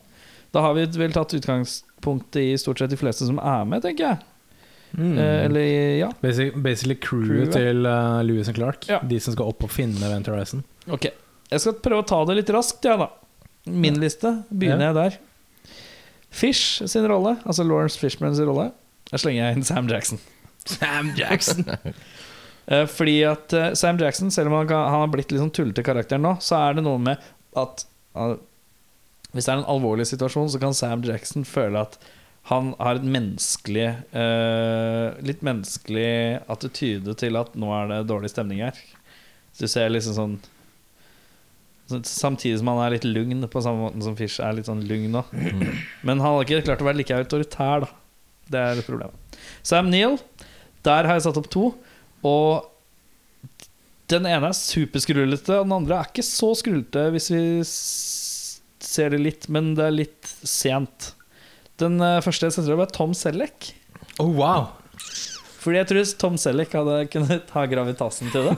Speaker 1: Da har vi vel tatt utgangspunktet i stort sett de fleste som er med, tenker jeg.
Speaker 4: Mm.
Speaker 1: Eh, eller ja.
Speaker 4: Basic, basically crewet
Speaker 1: Crewet.
Speaker 4: til uh, Lewis and Clark.
Speaker 1: Ja.
Speaker 4: De som skal opp og finne Event Horizon.
Speaker 1: Ok, jeg skal prøve å ta det litt raskt, jeg da. Min liste, begynner jeg der. Fish sin rolle, altså Lawrence Fishmans rolle. Der slenger jeg inn Sam Jackson. Sam Jackson! Fordi at (laughs) eh, Sam Jackson, selv om han, kan, han har blitt litt sånn tullete karakter nå, så er det noe med at eh, hvis det er en alvorlig situasjon, så kan Sam Jackson føle at han har et menneskelig eh, Litt menneskelig attityde til at nå er det dårlig stemning her. Så du ser liksom sånn så- Samtidig som han er litt lugn, på samme måten som Fish er litt sånn lugn nå. Men han har ikke klart å være like autoritær, da. Det er et problem. Sam Neill, der har jeg satt opp to. Og den ene er superskrullete, og den andre er ikke så skrullete, hvis vi s- ser det litt, men det er litt sent. Den eh, første jeg setter opp, er Tom Selleck.
Speaker 4: Oh, wow!
Speaker 1: Fordi jeg tror Tom Selleck hadde kunnet ha gravitasen til det.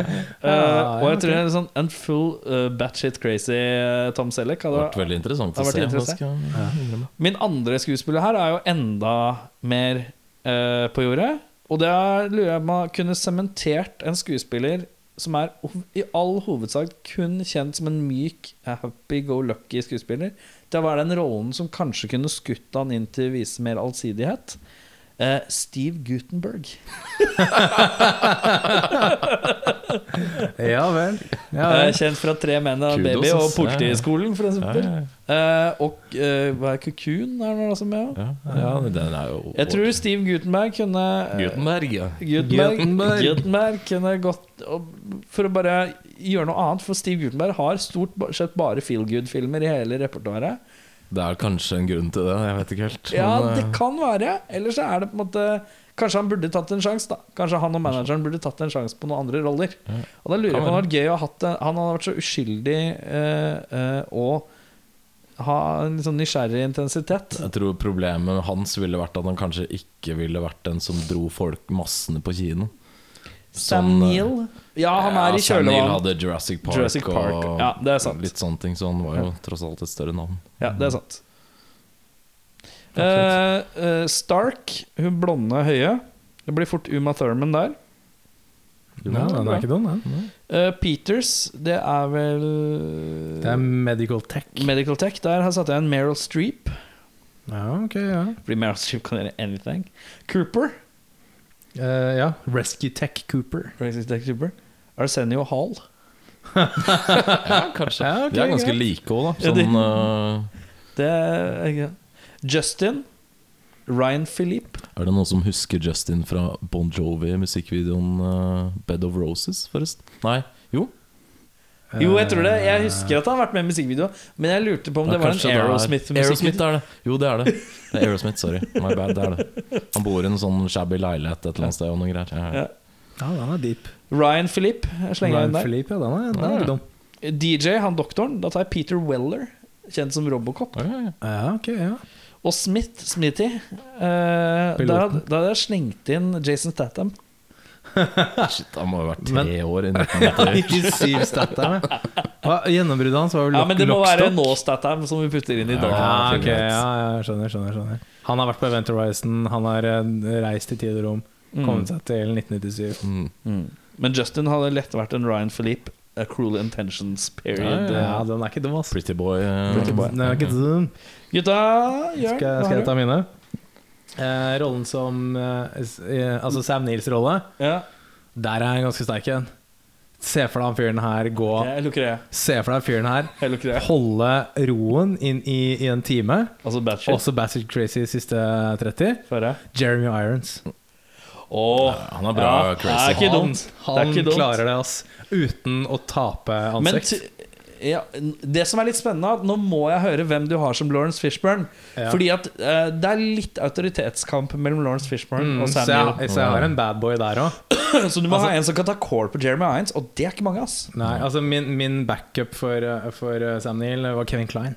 Speaker 1: Eh, og jeg tror en sånn en full uh, batshit crazy eh, Tom Selleck
Speaker 2: Det
Speaker 1: hadde
Speaker 2: har vært veldig interessant
Speaker 1: Det
Speaker 2: å
Speaker 1: har
Speaker 2: se.
Speaker 1: vært interessant.
Speaker 2: Skal, ja. innrømme.
Speaker 1: Min andre skuespiller her er jo enda mer eh, på jordet. Og det er, lurer jeg på om man kunne sementert en skuespiller som er hov- i all hovedsak kun kjent som en myk, eh, happy-go-lucky skuespiller. Det var den rollen som kanskje kunne skutt han inn til å vise mer allsidighet. Eh, Steve Gutenberg.
Speaker 4: (laughs) Ja vel. Ja,
Speaker 1: Eh,
Speaker 4: vel.
Speaker 1: kjent fra Tre menn og en
Speaker 2: Kudos,
Speaker 1: baby og
Speaker 2: ass.
Speaker 1: Politiskolen, for
Speaker 2: Ja,
Speaker 1: eksempel.
Speaker 2: ja,
Speaker 1: Eh, og eh, hva er Cocoon? Er det noe som er?
Speaker 2: ja. ja, den er jo
Speaker 1: Jeg tror Steve Gutenberg kunne eh,
Speaker 2: Gutenberg, ja.
Speaker 1: Gutenberg,
Speaker 4: Gutenberg.
Speaker 1: Gutenberg. kunne gått og- For å bare gjøre noe annet, for Steve Gutenberg har stort ba- sett bare feel good-filmer i hele repertoaret.
Speaker 2: Det er kanskje en grunn til det, jeg vet ikke helt.
Speaker 1: Ja,
Speaker 2: men, eh,
Speaker 1: det kan være. Ellers så er det på en måte Kanskje han burde tatt en sjanse, da. Kanskje han og manageren burde tatt en sjanse på noen andre roller. Og da lurer jeg på om det hadde vært gøy å ha hatt en- Han hadde vært så uskyldig eh, eh, og ha en litt sånn nysgjerrig intensitet.
Speaker 2: Jeg tror problemet hans ville vært at han kanskje ikke ville vært den som dro folk massene på kino.
Speaker 1: Sam
Speaker 2: Sånn, eh,
Speaker 1: Neill? Ja, han er i
Speaker 2: Sam Neill
Speaker 1: kjølvannet.
Speaker 2: hadde Jurassic Park,
Speaker 1: Jurassic Park,
Speaker 2: og
Speaker 1: ja, det er sant.
Speaker 2: litt sånne ting, så han var jo tross alt et større navn.
Speaker 1: Ja, det er sant. Eh, eh, Stark, hun blonde høye. Det blir fort Uma Thurman der.
Speaker 4: Nei, den er ikke dum, den.
Speaker 1: Eh, Peters, det er vel
Speaker 4: Det er medical tech.
Speaker 1: Medical Tech. Der har satte jeg en Meryl Streep.
Speaker 4: Ja, ok, ja.
Speaker 1: Fordi Meryl Streep kan gjøre anything. Cooper.
Speaker 4: Eh, ja. Rescue Tech Cooper.
Speaker 1: Racist Tech Cooper. Arsenio Hall.
Speaker 2: Ja,
Speaker 1: Altså,
Speaker 2: kanskje.
Speaker 4: Ja, ok,
Speaker 2: De er ganske
Speaker 4: greit.
Speaker 2: like òg, da.
Speaker 1: Ja, de-
Speaker 2: Sånn, øh,
Speaker 1: Det er ja. Justin. Ryan Philippe.
Speaker 2: er det noen som husker Justin fra Bon Jovi-musikkvideoen øh, 'Bed of Roses', forresten? Nei, jo.
Speaker 1: Jo, jeg tror det.
Speaker 4: Eh,
Speaker 1: Jeg husker at han har vært med i musikkvideo, men jeg lurte på om
Speaker 2: Ja,
Speaker 1: det var en
Speaker 2: kanskje er- Aerosmith
Speaker 1: Aerosmith-musikk.
Speaker 2: er det. Jo, det er det. Det er Aerosmith, sorry. My bad, det er det. Han bor i en sånn shabby leilighet et eller annet sted og noe greier. Ja, ja.
Speaker 1: Ja.
Speaker 4: Ja, den er deep.
Speaker 1: Ryan Philippe jeg slenger jeg
Speaker 4: Ryan
Speaker 1: inn der.
Speaker 4: Philippe, ja, den er, den er
Speaker 2: Ja.
Speaker 4: ikke dum.
Speaker 1: DJ, han doktoren, da tar jeg Peter Weller, kjent som Robocop.
Speaker 2: Ja, ja, ja.
Speaker 4: Ja, ok,
Speaker 1: (laughs)
Speaker 4: ja.
Speaker 1: Og Smith, Smithy. eh,
Speaker 4: Piloten.
Speaker 1: der hadde der hadde jeg slengt inn Jason Statham.
Speaker 2: Shit, han må ha vært tre
Speaker 4: (laughs)
Speaker 2: år i 1990.
Speaker 4: Ikke syv statter, ja. Og Gjennombruddet hans var jo
Speaker 1: Ja,
Speaker 4: lock,
Speaker 1: men det må være
Speaker 4: lockstock.
Speaker 1: nå Statham som vi putter inn i dag.
Speaker 4: Ja, ok,
Speaker 2: filmen.
Speaker 4: ja, ja, skjønner, skjønner, skjønner. Han har vært på Event Horizon, han har eh, reist i tid og rom, kommet seg til 1997.
Speaker 2: Mm.
Speaker 1: Men Justin hadde lett vært en Ryan Philippe. A cruel intentions period.
Speaker 4: Ja, den er ikke dum, ass.
Speaker 2: Pretty boy. øh,
Speaker 1: Pretty boy.
Speaker 4: Den er ikke dum.
Speaker 1: Gutta, Jørn,
Speaker 4: Skal,
Speaker 1: hva
Speaker 4: skal
Speaker 1: har
Speaker 4: jeg ta mine? Eh, rollen som eh, s- eh, Altså Sam Neils rolle,
Speaker 1: du? Ja,
Speaker 4: der er han ganske sterk igjen. Se for deg han fyren her gå
Speaker 1: jeg lukker det.
Speaker 4: Se for deg fyren her
Speaker 1: Jeg lukker det.
Speaker 4: holde roen inn i, i en time.
Speaker 1: Altså batshit.
Speaker 4: Også Bassett Crazy siste 30.
Speaker 1: Føre.
Speaker 4: Jeremy Irons.
Speaker 1: Åh,
Speaker 2: Han er bra,
Speaker 1: Ja,
Speaker 2: crazy.
Speaker 1: er ikke
Speaker 4: Han,
Speaker 1: dumt. Det er
Speaker 4: han
Speaker 1: ikke dumt.
Speaker 4: klarer det, ass. Uten å tape
Speaker 1: Men
Speaker 4: ansikt.
Speaker 1: t- ja, n- det som er litt spennende, er at nå må jeg høre hvem du har som Lawrence Fishburne.
Speaker 4: Ja.
Speaker 1: Fordi at eh, det er litt autoritetskamp mellom Lawrence Fishburne
Speaker 4: Mm,
Speaker 1: og
Speaker 4: så,
Speaker 1: Samuel.
Speaker 4: jeg, Altså- så jeg har en badboy der òg.
Speaker 1: (laughs) Så du må ha en som kan ta call på Jeremy Irons, og det er ikke mange, ass.
Speaker 4: Altså min, min backup for, eh, for eh, Sam Neill var Kevin Klein.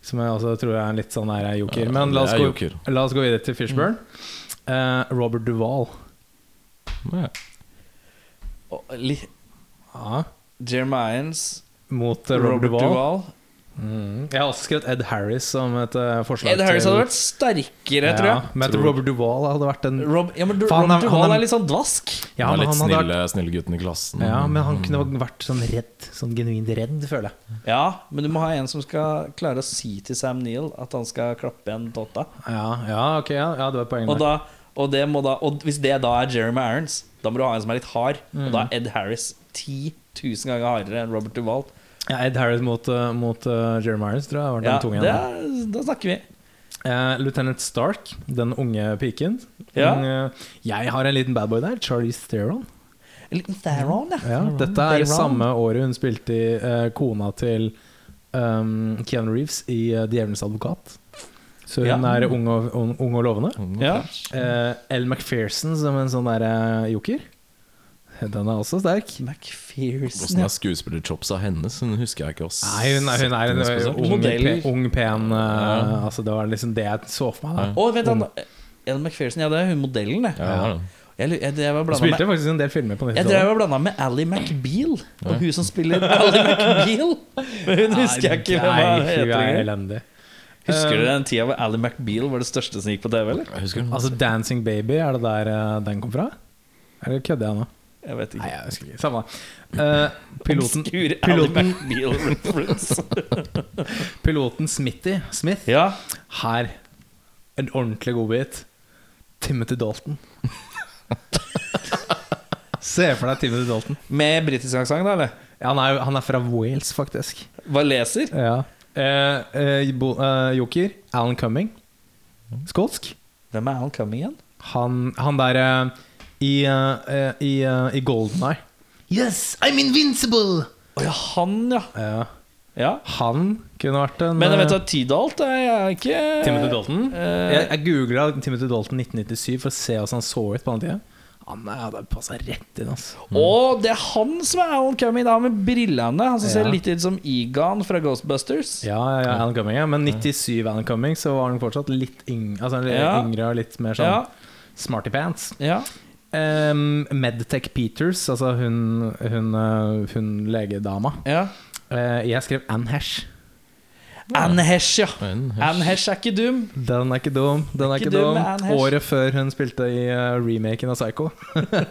Speaker 4: Som jeg også tror er en litt sånn her er joker.
Speaker 2: Ja,
Speaker 4: Men la oss,
Speaker 2: det er
Speaker 4: gå,
Speaker 2: joker.
Speaker 4: la oss gå videre til Fishburne. Eh, Robert Duvall.
Speaker 2: Ja.
Speaker 1: Og li,
Speaker 4: Ja,
Speaker 1: Jeremy Irons,
Speaker 4: mot eh,
Speaker 1: Robert,
Speaker 4: Robert, Duvall.
Speaker 1: Duvall.
Speaker 4: Mm. Jeg har også skrevet Ed Harris som et eh, forslag
Speaker 1: Ed Harris hadde vært sterkere, tror jeg.
Speaker 4: Men at
Speaker 2: Tror-
Speaker 4: Robert Duvall hadde vært en
Speaker 1: Rob, ja, men du-
Speaker 4: Faen, han-
Speaker 1: Robert Duvall
Speaker 4: han er-
Speaker 1: er litt sånn dvask.
Speaker 4: Ja,
Speaker 2: han
Speaker 4: men
Speaker 2: er litt
Speaker 4: han hadde vært
Speaker 2: snille, snille gutten i klassen.
Speaker 4: ja, men han kunne vært sånn redd. Sånn genuint redd, føler jeg.
Speaker 1: Ja, men du må ha en som skal klare å si til Sam Neill at han skal klappe igjen Totta.
Speaker 4: Ja, ja ok, ja, ja det var poenget.
Speaker 1: Og, da, og, det må da, og hvis det da er Jeremy Irons, da må du ha en som er litt hard. Og
Speaker 4: Mm.
Speaker 1: da er Ed Harris 10 000 ganger hardere enn Robert Duvall.
Speaker 4: ja, Ed Harris mot, eh, mot eh, Jeremy Irons, tror jeg. Har vært
Speaker 1: Ja,
Speaker 4: den tunge
Speaker 1: det
Speaker 4: igjen.
Speaker 1: er, da snakker vi.
Speaker 4: Eh, Lieutenant Stark, den unge piken.
Speaker 1: Ja.
Speaker 4: Den, eh, jeg har en liten badboy der. Charlize Theron.
Speaker 1: En liten Theron, ja.
Speaker 4: Ja, dette er
Speaker 1: Theron.
Speaker 4: samme året hun spilte i eh, kona til um, Keanu Reeves i eh, Djevelens advokat. Så hun
Speaker 1: Ja.
Speaker 4: er ung og, ung,
Speaker 1: Mm.
Speaker 4: ung og lovende.
Speaker 1: ja.
Speaker 4: Eh, Elle McPherson som en sånn der eh, joker. Den er også sterk.
Speaker 1: McPherson.
Speaker 2: Åssen er skuespillerchopsa hennes? Hun husker jeg ikke. Oss.
Speaker 4: Nei, hun er, hun er en
Speaker 2: Spesielt.
Speaker 4: ung,
Speaker 1: Modell.
Speaker 4: pe- ung pen eh, Altså, det var liksom det jeg så for meg. da
Speaker 1: Å, vent da. Ellen McPherson, ja, det er hun modellen, det.
Speaker 2: Ja, det er det.
Speaker 1: Jeg, lu- jeg, jeg var
Speaker 4: Hun
Speaker 1: blanda med
Speaker 4: spilte faktisk en del filmer på
Speaker 1: Jeg drev
Speaker 4: 90-tallet.
Speaker 1: og blanda med Ally McBeal og hun som spiller Ally McBeal. (laughs) Men hun husker jeg ikke hvem
Speaker 4: Nei,
Speaker 1: hun
Speaker 4: hun
Speaker 1: heter.
Speaker 4: er
Speaker 1: engang.
Speaker 4: elendig.
Speaker 1: Husker dere den tida hvor Ally McBeal var det største som gikk på TV? eller?
Speaker 2: Jeg husker hun.
Speaker 4: Altså, 'Dancing Baby', er det der eh, den kom fra? Eller kødder jeg nå?
Speaker 1: Jeg vet
Speaker 4: Nei,
Speaker 1: ikke.
Speaker 4: jeg husker ikke. Samme det. Eh, piloten,
Speaker 1: Obskur Ally
Speaker 4: piloten,
Speaker 1: McBeal reference.
Speaker 4: (laughs) piloten Smitty Smith
Speaker 1: Ja.
Speaker 4: her. En ordentlig godbit. Timothy Dalton. (laughs) Se for deg Timothy Dalton.
Speaker 1: Med britisk aksent, da, eller?
Speaker 4: Ja, han, er, jo- han er fra Wales, faktisk.
Speaker 1: Hva leser?
Speaker 4: Ja. Eh, eh, bo, eh, Joker. Alan Cumming. Skotsk.
Speaker 1: Hvem er Alan Cumming igjen?
Speaker 4: Han, han der eh, i, eh, eh, i, eh, i Golden Eye. Yes, I'm invincible!
Speaker 1: Å ja, han, ja.
Speaker 4: Ja.
Speaker 1: ja.
Speaker 4: Han kunne vært en
Speaker 1: Men jeg vet
Speaker 4: eh,
Speaker 1: at Tidalt er jeg ikke
Speaker 4: Timothy Dalton?
Speaker 1: Eh,
Speaker 4: Jeg, jeg googla Timothy Dalton 1997 for å se hvordan han så ut på den tida. Han er- hadde passa rett inn, altså.
Speaker 1: Mm. Og det er han som er Alan Cumming, da, med brillene. Han som
Speaker 4: Ja.
Speaker 1: ser litt ut som Egan fra Ghostbusters.
Speaker 4: Ja, ja, ja, Alan Cumming, ja. Men 97 Alan Cumming, så var han fortsatt litt yng, altså, litt
Speaker 1: Ja.
Speaker 4: yngre og litt mer sånn
Speaker 1: Ja,
Speaker 4: smarty pants.
Speaker 1: ja.
Speaker 4: Ehm, Medtech Peters, altså hun, hun, eh, hun legedama.
Speaker 1: ja.
Speaker 4: Eh, jeg skrev Anne Hesh.
Speaker 1: Anne Hesh, ja.
Speaker 2: Anne Hesh.
Speaker 1: Anne Hesh er ikke dum.
Speaker 4: Den er ikke dum. Den er
Speaker 1: Ikke
Speaker 4: ikke
Speaker 1: dum,
Speaker 4: dum.
Speaker 1: Anne Hesh.
Speaker 4: Året før hun spilte i eh, remaken av Psycho.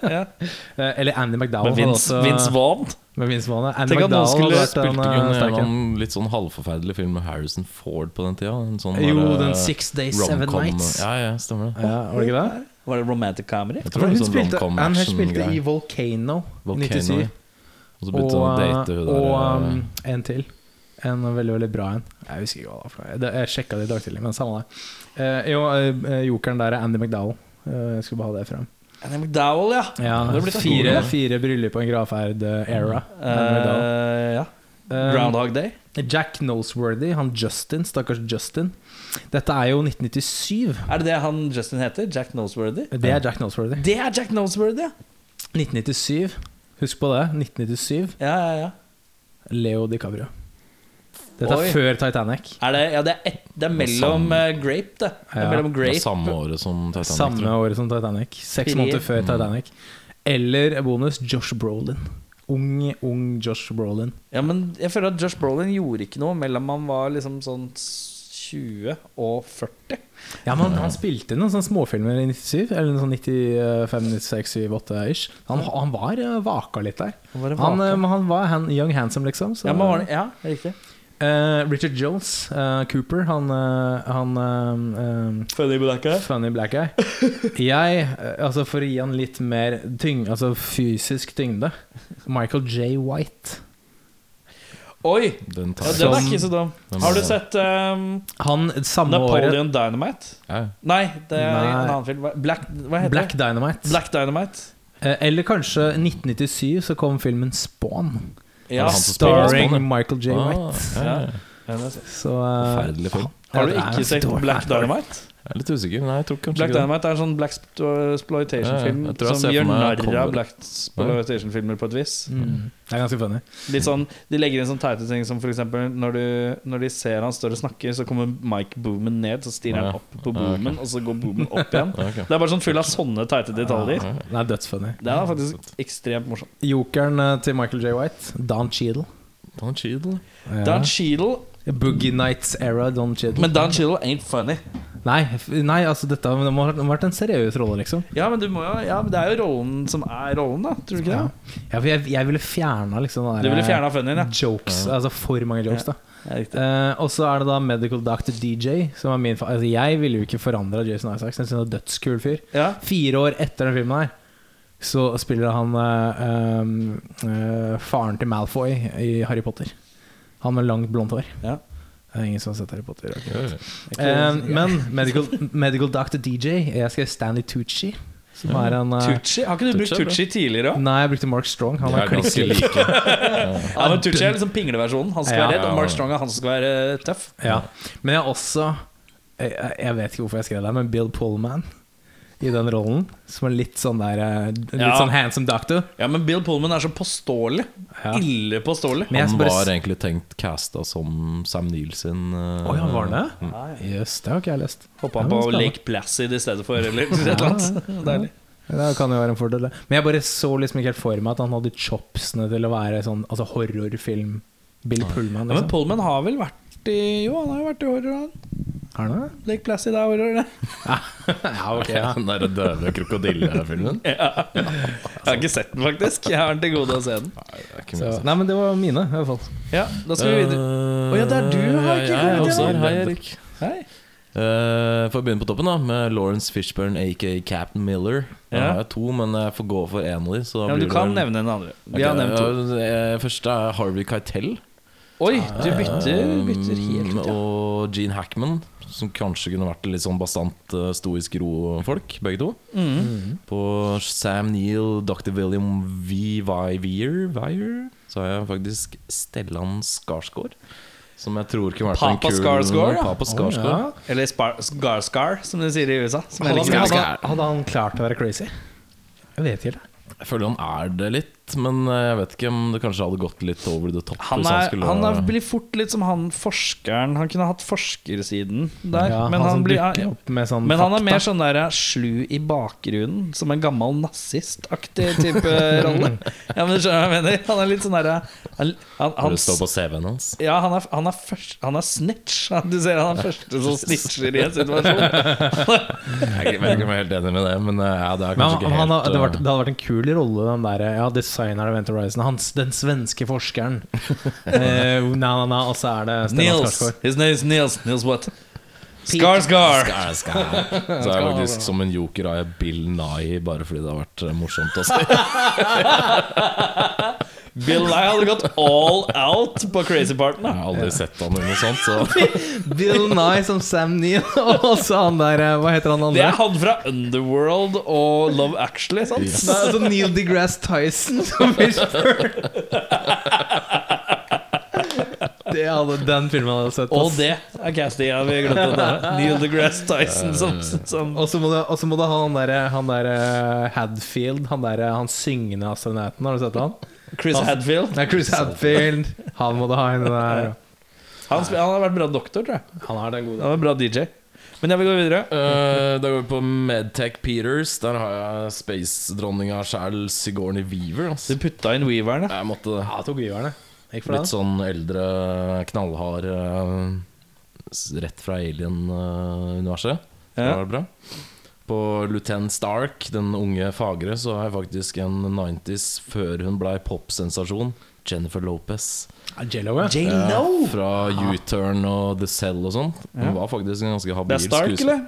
Speaker 1: Ja.
Speaker 4: Eh, eller Andy McDowell.
Speaker 1: (laughs) Men Vince, Vince Vaughn
Speaker 4: med Vince Vaughn, ja. Andy
Speaker 1: Tenk at noen
Speaker 4: McDowell hadde vært
Speaker 1: skulle
Speaker 2: Spilte
Speaker 4: den
Speaker 2: ikke hun
Speaker 4: eh,
Speaker 2: en eller
Speaker 4: sterke.
Speaker 2: annen litt sånn halvforferdelig film med Harrison Ford på den tida? En sånn
Speaker 4: Jo,
Speaker 2: der,
Speaker 4: den
Speaker 2: eh,
Speaker 4: Six Days, Seven
Speaker 2: rom-com-
Speaker 4: Nights.
Speaker 2: Ja, ja, stemmer det.
Speaker 4: Ja, var det ikke det?
Speaker 1: Var det romantic comedy?
Speaker 2: Jeg tror det
Speaker 4: hun
Speaker 2: var en sånn
Speaker 4: spilte,
Speaker 2: rom-com
Speaker 4: Anne Hesh spilte i
Speaker 2: action-greie.
Speaker 4: Volcano, i
Speaker 2: Volcano,
Speaker 4: 97.
Speaker 2: ja. Og så
Speaker 4: Og,
Speaker 2: begynte hun å date hun der
Speaker 4: og
Speaker 2: eh,
Speaker 4: um, en til. En veldig veldig bra en. Jeg husker ikke hva det var. for noe. Det- Jeg sjekka det i dag tidlig, men samme det. Eh, jo, eh, jokeren der er Andy McDowell. Eh, jeg skulle bare ha det frem.
Speaker 1: Andy McDowell, ja.
Speaker 4: Ja,
Speaker 1: det blir Mm.
Speaker 4: fire,
Speaker 2: stor,
Speaker 4: fire bryllup og en eh, gravferd-era.
Speaker 1: Eh, ja. Groundhog Day.
Speaker 4: Um, Jack Noseworthy, han Justin, stakkars Justin. Dette er jo 1997.
Speaker 1: Er det det han Justin heter? Jack Noseworthy?
Speaker 4: Det er Jack Noseworthy.
Speaker 1: Det er Jack Noseworthy, ja.
Speaker 4: 1997. Husk på det. 1997.
Speaker 1: Ja, ja, ja.
Speaker 4: Leo DiCaprio. Dette
Speaker 1: Oi.
Speaker 4: er før Titanic.
Speaker 1: Er det, ja, det, er et, det er mellom
Speaker 2: Samme.
Speaker 1: eh, Grape, det. det
Speaker 4: Ja.
Speaker 1: er mellom
Speaker 2: det
Speaker 1: grape.
Speaker 2: var samme året som Titanic. tror
Speaker 4: Samme
Speaker 2: jeg.
Speaker 4: året som Titanic. Seks
Speaker 1: Fire.
Speaker 4: måneder før Titanic. Eller bonus Josh Brolin. Ung, ung Josh Brolin.
Speaker 1: Ja, men jeg føler at Josh Brolin gjorde ikke noe mellom han var liksom sånn 20 og 40.
Speaker 4: Ja, men Han spilte noen sånne småfilmer i 97, eller noen sånn 95, 96, 98 ish. Han, han var eh, vaka litt der.
Speaker 1: Han var en
Speaker 4: Han,
Speaker 1: vaka.
Speaker 4: eh, men han var han, young handsome, liksom. Så.
Speaker 1: Ja, men var det, ja, riktig.
Speaker 4: Eh, Richard Jones, eh, Cooper, han, eh, han eh, eh,
Speaker 1: Funny Blacker.
Speaker 4: Funny black guy. Jeg, eh, altså for å gi han litt mer tyng, altså fysisk tyngde Michael J. White.
Speaker 1: Oi!
Speaker 2: Den tar
Speaker 1: Ja,
Speaker 2: jeg.
Speaker 1: den er
Speaker 4: Som-
Speaker 1: ikke så dum.
Speaker 2: Den eh,
Speaker 1: Har du
Speaker 2: er-
Speaker 1: sett ehm,
Speaker 4: Han samme året
Speaker 1: Napoleon Dynamite?
Speaker 2: Ja, ja.
Speaker 1: Nei, det er
Speaker 4: Nei.
Speaker 1: en annen film. Black, hva heter
Speaker 4: Black
Speaker 1: det?
Speaker 4: Dynamite.
Speaker 1: Black Dynamite.
Speaker 4: Eh, Eller kanskje 1997 så kom filmen Spawn.
Speaker 1: Ja,
Speaker 2: Er det han som spiller
Speaker 1: Starring.
Speaker 4: Starring
Speaker 2: Spawn,
Speaker 4: Michael J.
Speaker 2: Ah,
Speaker 4: White.
Speaker 2: ja, ja.
Speaker 4: Så eh,
Speaker 2: Forferdelig film.
Speaker 1: Har du
Speaker 4: ja, det er
Speaker 1: ikke
Speaker 4: en
Speaker 1: sett
Speaker 4: stor-
Speaker 1: Black Dynamite?
Speaker 2: Jeg er litt usikker. Nei, jeg tror kanskje
Speaker 1: Black
Speaker 2: ikke det.
Speaker 1: Dynamite er en sånn black exploitation-film
Speaker 2: Ja, jeg tror jeg
Speaker 1: som
Speaker 2: ser for
Speaker 1: gjør
Speaker 2: meg
Speaker 1: narr
Speaker 2: coveret.
Speaker 1: av black exploitation-filmer på et vis.
Speaker 4: Mm, det er ganske funny.
Speaker 1: Litt sånn, De legger inn sånn teite ting som f.eks. Når, du- når de ser han står og snakker, så kommer Mike Boomen ned, så stirrer
Speaker 2: Ja.
Speaker 1: han opp på
Speaker 2: Ja, ok.
Speaker 1: Boomen, og så går Boomen opp igjen.
Speaker 2: Ja, ok.
Speaker 1: Det er bare sånn full av sånne teite detaljer.
Speaker 2: Ja, ja.
Speaker 4: Den er dødsfunny.
Speaker 1: Den er faktisk ekstremt morsom.
Speaker 4: Jokeren eh, til Michael J. White, Don Cheadle.
Speaker 2: Don Cheadle.
Speaker 4: Ja.
Speaker 1: Dan Cheadle
Speaker 4: Boogie Nights era Don Cheadle.
Speaker 1: Men Dan Cheadle ain't funny.
Speaker 4: Nei, f- nei altså dette har- det må ha det må ha vært en seriøs rolle, liksom.
Speaker 1: Ja, men, du må jo, ja, men det er jo rollen som er rollen, da. Tror du ikke det?
Speaker 4: Ja. Ja, for jeg, jeg ville fjerna liksom den
Speaker 1: Du
Speaker 4: der,
Speaker 1: ville fjerna funnyen, ja.
Speaker 4: jokes. Altså for mange jokes, da.
Speaker 1: ja riktig.
Speaker 4: Eh, og så er det da Medical Doctor DJ, som er min fa Altså Jeg ville jo ikke forandra Jason Isaacs. Jeg synes han er en dødskul fyr.
Speaker 1: Ja.
Speaker 4: Fire år etter den filmen her så spiller han eh, um, eh, faren til Malfoy i Harry Potter. Han med langt, blondt hår.
Speaker 1: Ja.
Speaker 4: Det er ingen som har sett Harry Potter. Okay.
Speaker 2: Ja, ja.
Speaker 4: Eh, men Medical, medical Doctor DJ Jeg skrev Stanley Tucci, som er en eh,
Speaker 1: Tucci? Har ikke du brukt
Speaker 2: Tucci er bra.
Speaker 1: Tucci tidligere òg?
Speaker 4: Nei, jeg brukte Mark Strong. Han
Speaker 2: De
Speaker 4: er
Speaker 2: er ganske
Speaker 4: klinkelig. (laughs)
Speaker 2: like.
Speaker 1: Ja, men Tucci er liksom pingleversjonen. Han skal
Speaker 4: Ja,
Speaker 1: være redd,
Speaker 2: ja,
Speaker 1: og Mark
Speaker 2: ja.
Speaker 1: Strong er han som skal være eh, tøff.
Speaker 4: Ja. Men jeg har også jeg, jeg vet ikke hvorfor jeg skrev det, men Bill Pullman i den rollen. Som er litt sånn der eh, Litt
Speaker 1: Ja.
Speaker 4: sånn handsome doctor.
Speaker 1: Ja, men Bill Pullman er så påståelig.
Speaker 4: Ja.
Speaker 1: Ille påståelig.
Speaker 4: Men jeg
Speaker 2: Han
Speaker 4: bare
Speaker 2: var
Speaker 4: s-
Speaker 2: egentlig tenkt casta som Sam Neill sin eh,
Speaker 4: Å ja, var han det?
Speaker 1: Mm.
Speaker 4: Jøs, det har ikke jeg lest.
Speaker 1: Hoppa
Speaker 4: Ja,
Speaker 1: på
Speaker 4: men spennende.
Speaker 1: Lake Placid i stedet (laughs) for, eller et eller annet. Deilig.
Speaker 4: Det kan jo være en fordel, det. Men jeg bare så liksom ikke helt for meg at han hadde chopsene til å være sånn altså horrorfilm. Bill Pullman,
Speaker 1: Ja, men
Speaker 4: liksom.
Speaker 1: Pullman har vel vært i Jo, han har jo vært i horror, han.
Speaker 4: Er han det?
Speaker 1: Lake Placid er horror, det. Ah,
Speaker 4: Ja, ok, ja.
Speaker 2: (laughs) Den der døve krokodillefilmen.
Speaker 1: Ja. Jeg har ikke sett den, faktisk. Jeg har den til gode å se den.
Speaker 4: Så, nei, men det var mine, i hvert fall.
Speaker 1: Ja, Da skal vi videre.
Speaker 2: Eh,
Speaker 1: Å ja, det er du, har ikke
Speaker 2: jeg
Speaker 1: kommet
Speaker 2: også
Speaker 1: igjen.
Speaker 2: her. Hei, Erik.
Speaker 1: Hei.
Speaker 2: Eh, får begynne på toppen, da med Lawrence Fishburne aka Captain Miller. Da
Speaker 1: Ja.
Speaker 2: har jeg to, men jeg får gå for én, Louis. så da
Speaker 1: Ja, men
Speaker 2: blir
Speaker 1: du
Speaker 2: det
Speaker 1: kan
Speaker 2: vel-
Speaker 1: nevne en andre. Vi
Speaker 2: Ok,
Speaker 1: har nevnt to.
Speaker 2: ja, eh, Første er Harvey Keitel.
Speaker 1: Oi, du bytter,
Speaker 2: Um,
Speaker 1: bytter helt ut, ja.
Speaker 2: Og Gene Hackman, som kanskje kunne vært litt sånn bastant eh, stoisk ro-folk, begge to.
Speaker 4: Mm.
Speaker 2: Mm. På Sam Neill, Dr. William V. Vier, Vier så har jeg faktisk Stellan Skarsgård. Som jeg tror kunne vært
Speaker 1: Papa Skarsgård, ja.
Speaker 2: Papa Skarsgård.
Speaker 4: Ja.
Speaker 1: Eller Spar- Scar Scar, som de sier i USA. Som jeg
Speaker 4: Hadde,
Speaker 1: liker.
Speaker 4: han, hadde, hadde han klart å være crazy? Jeg vet ikke.
Speaker 2: Jeg føler han er det litt, men eh, jeg vet ikke om det kanskje hadde gått litt over the top.
Speaker 1: Han,
Speaker 2: hvis
Speaker 1: er,
Speaker 2: skulle-
Speaker 1: han er, blir fort litt som han forskeren. Han kunne hatt forskersiden der.
Speaker 4: Ja,
Speaker 1: men
Speaker 4: han
Speaker 1: han,
Speaker 4: som
Speaker 1: blir,
Speaker 4: dukker opp med sånn
Speaker 1: men han er
Speaker 4: fakta.
Speaker 1: mer sånn der slu i bakgrunnen, som en gammel nazistaktig
Speaker 4: (laughs)
Speaker 1: type rolle. Ja, men du skjønner hva jeg mener? Han er litt sånn derre han, han,
Speaker 2: Når
Speaker 1: han,
Speaker 2: det står på CV-en hans.
Speaker 1: ja, han er, han, er først, han er snitch. Du ser han er første
Speaker 2: (laughs)
Speaker 1: som snitcher i en situasjon.
Speaker 2: (laughs) Jeg vet ikke om jeg er helt enig med det, men eh, ja, det er kanskje
Speaker 4: Men han,
Speaker 2: ikke helt
Speaker 4: han, har- det,
Speaker 2: eh,
Speaker 4: hadde vært, det hadde vært en kul rolle, den der Ja, designeren av Event Horizon. Han, den svenske forskeren.
Speaker 1: (laughs)
Speaker 4: eh, na, na, na, og så er det Stellan
Speaker 1: Nils.
Speaker 4: Skarsgård.
Speaker 1: His name is Nils. Nils what? Scar Scar.
Speaker 2: Skar, (laughs) skar. Så er jeg faktisk som en joker har jeg Bill Nye bare fordi det har vært eh, morsomt å se.
Speaker 1: Bill Nye hadde gått all out på crazy parten.
Speaker 2: Jeg
Speaker 1: da.
Speaker 2: har aldri sett han i noe sånt, så
Speaker 4: Bill Nye som Sam Neill, (laughs) og så han der eh, Hva heter han
Speaker 1: Det er
Speaker 4: andre?
Speaker 1: han fra Underworld og Love Actually. Sant?
Speaker 2: Yes.
Speaker 4: Det er altså Neil deGrasse Tyson (laughs) som blir spurt. Det hadde den filmen hadde jeg sett.
Speaker 1: Og
Speaker 4: ass.
Speaker 1: det er castinga vi glemte. der. Neil deGrasse Tyson som, som
Speaker 4: Og så må, du- og så må du ha han derre han der, eh, Hadfield, han derre han syngende astronauten. Har du sett han?
Speaker 1: Chris Hadfield.
Speaker 4: Nei, Chris Hadfield. Han må du ha inn i det der.
Speaker 1: Han, spil- han har vært bra doktor, tror jeg.
Speaker 4: Han er den gode.
Speaker 1: Han var en bra DJ. Men jeg vil gå videre.
Speaker 2: (laughs) Eh, Da går vi på Medtech Peters. Der har jeg space-dronninga sjæl, Sigourney Weaver.
Speaker 1: Du
Speaker 2: Altså.
Speaker 1: putta inn Weaveren, ja.
Speaker 2: Jeg måtte det.
Speaker 4: Ja, tok giverne. Gikk for
Speaker 2: Litt
Speaker 4: den.
Speaker 2: sånn eldre, knallhard eh, s- Rett fra Alien-universet. Det
Speaker 1: Ja.
Speaker 2: var bra. På Lieutenant Stark, den unge fagre, så har jeg faktisk en 90s før hun blei popsensasjon. Jennifer Lopez.
Speaker 4: Ja, Jello, ja.
Speaker 2: Ja, fra U-turn og The Cell og sånn. Hun var faktisk en ganske
Speaker 1: Det
Speaker 2: habil
Speaker 1: er Stark,
Speaker 2: skuesp-
Speaker 1: eller?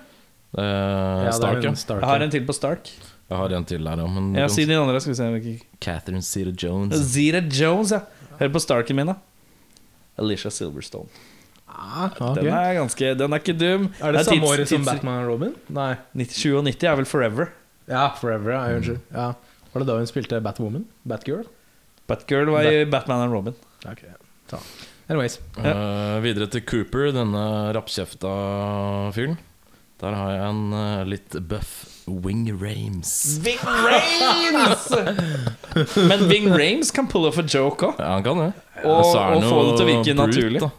Speaker 2: Eh,
Speaker 4: Ja, det er
Speaker 2: Stark, ja.
Speaker 4: hun, Stark,
Speaker 1: Jeg har en til på Stark.
Speaker 2: Jeg har en til her, ja. Men
Speaker 1: Ja,
Speaker 2: du kan-
Speaker 1: Si de andre, skal vi se. om vi ikke-
Speaker 2: Catherine Zeta
Speaker 4: Mm.
Speaker 2: Jones.
Speaker 1: Zira Jones, ja. Hør på Starken min, da. Alicia Silverstone.
Speaker 4: ja. Ah, ok.
Speaker 1: Den er ganske Den er ikke dum.
Speaker 4: Er det
Speaker 1: tids-
Speaker 4: samme året som
Speaker 1: tids-
Speaker 4: Batman og Robin? Nei.
Speaker 1: 97 og 90 er vel Forever.
Speaker 4: Ja, Forever. Ja, unnskyld. Ja. Var det da hun spilte Batwoman? Batgirl?
Speaker 1: Batgirl var i Batman and Robin.
Speaker 4: Ja, Ok, ta. Anyways.
Speaker 2: Eh, videre til Cooper, denne rappkjefta fyren. Der har jeg en eh, litt buff Wing Rames.
Speaker 1: Ving Rames! Men
Speaker 4: (laughs)
Speaker 1: Ving Rames kan pull off a joke òg.
Speaker 2: Ja, han kan det.
Speaker 1: Og-
Speaker 2: så er han
Speaker 1: og få det til å
Speaker 2: jo
Speaker 1: virke
Speaker 2: brute,
Speaker 1: naturlig.
Speaker 2: da.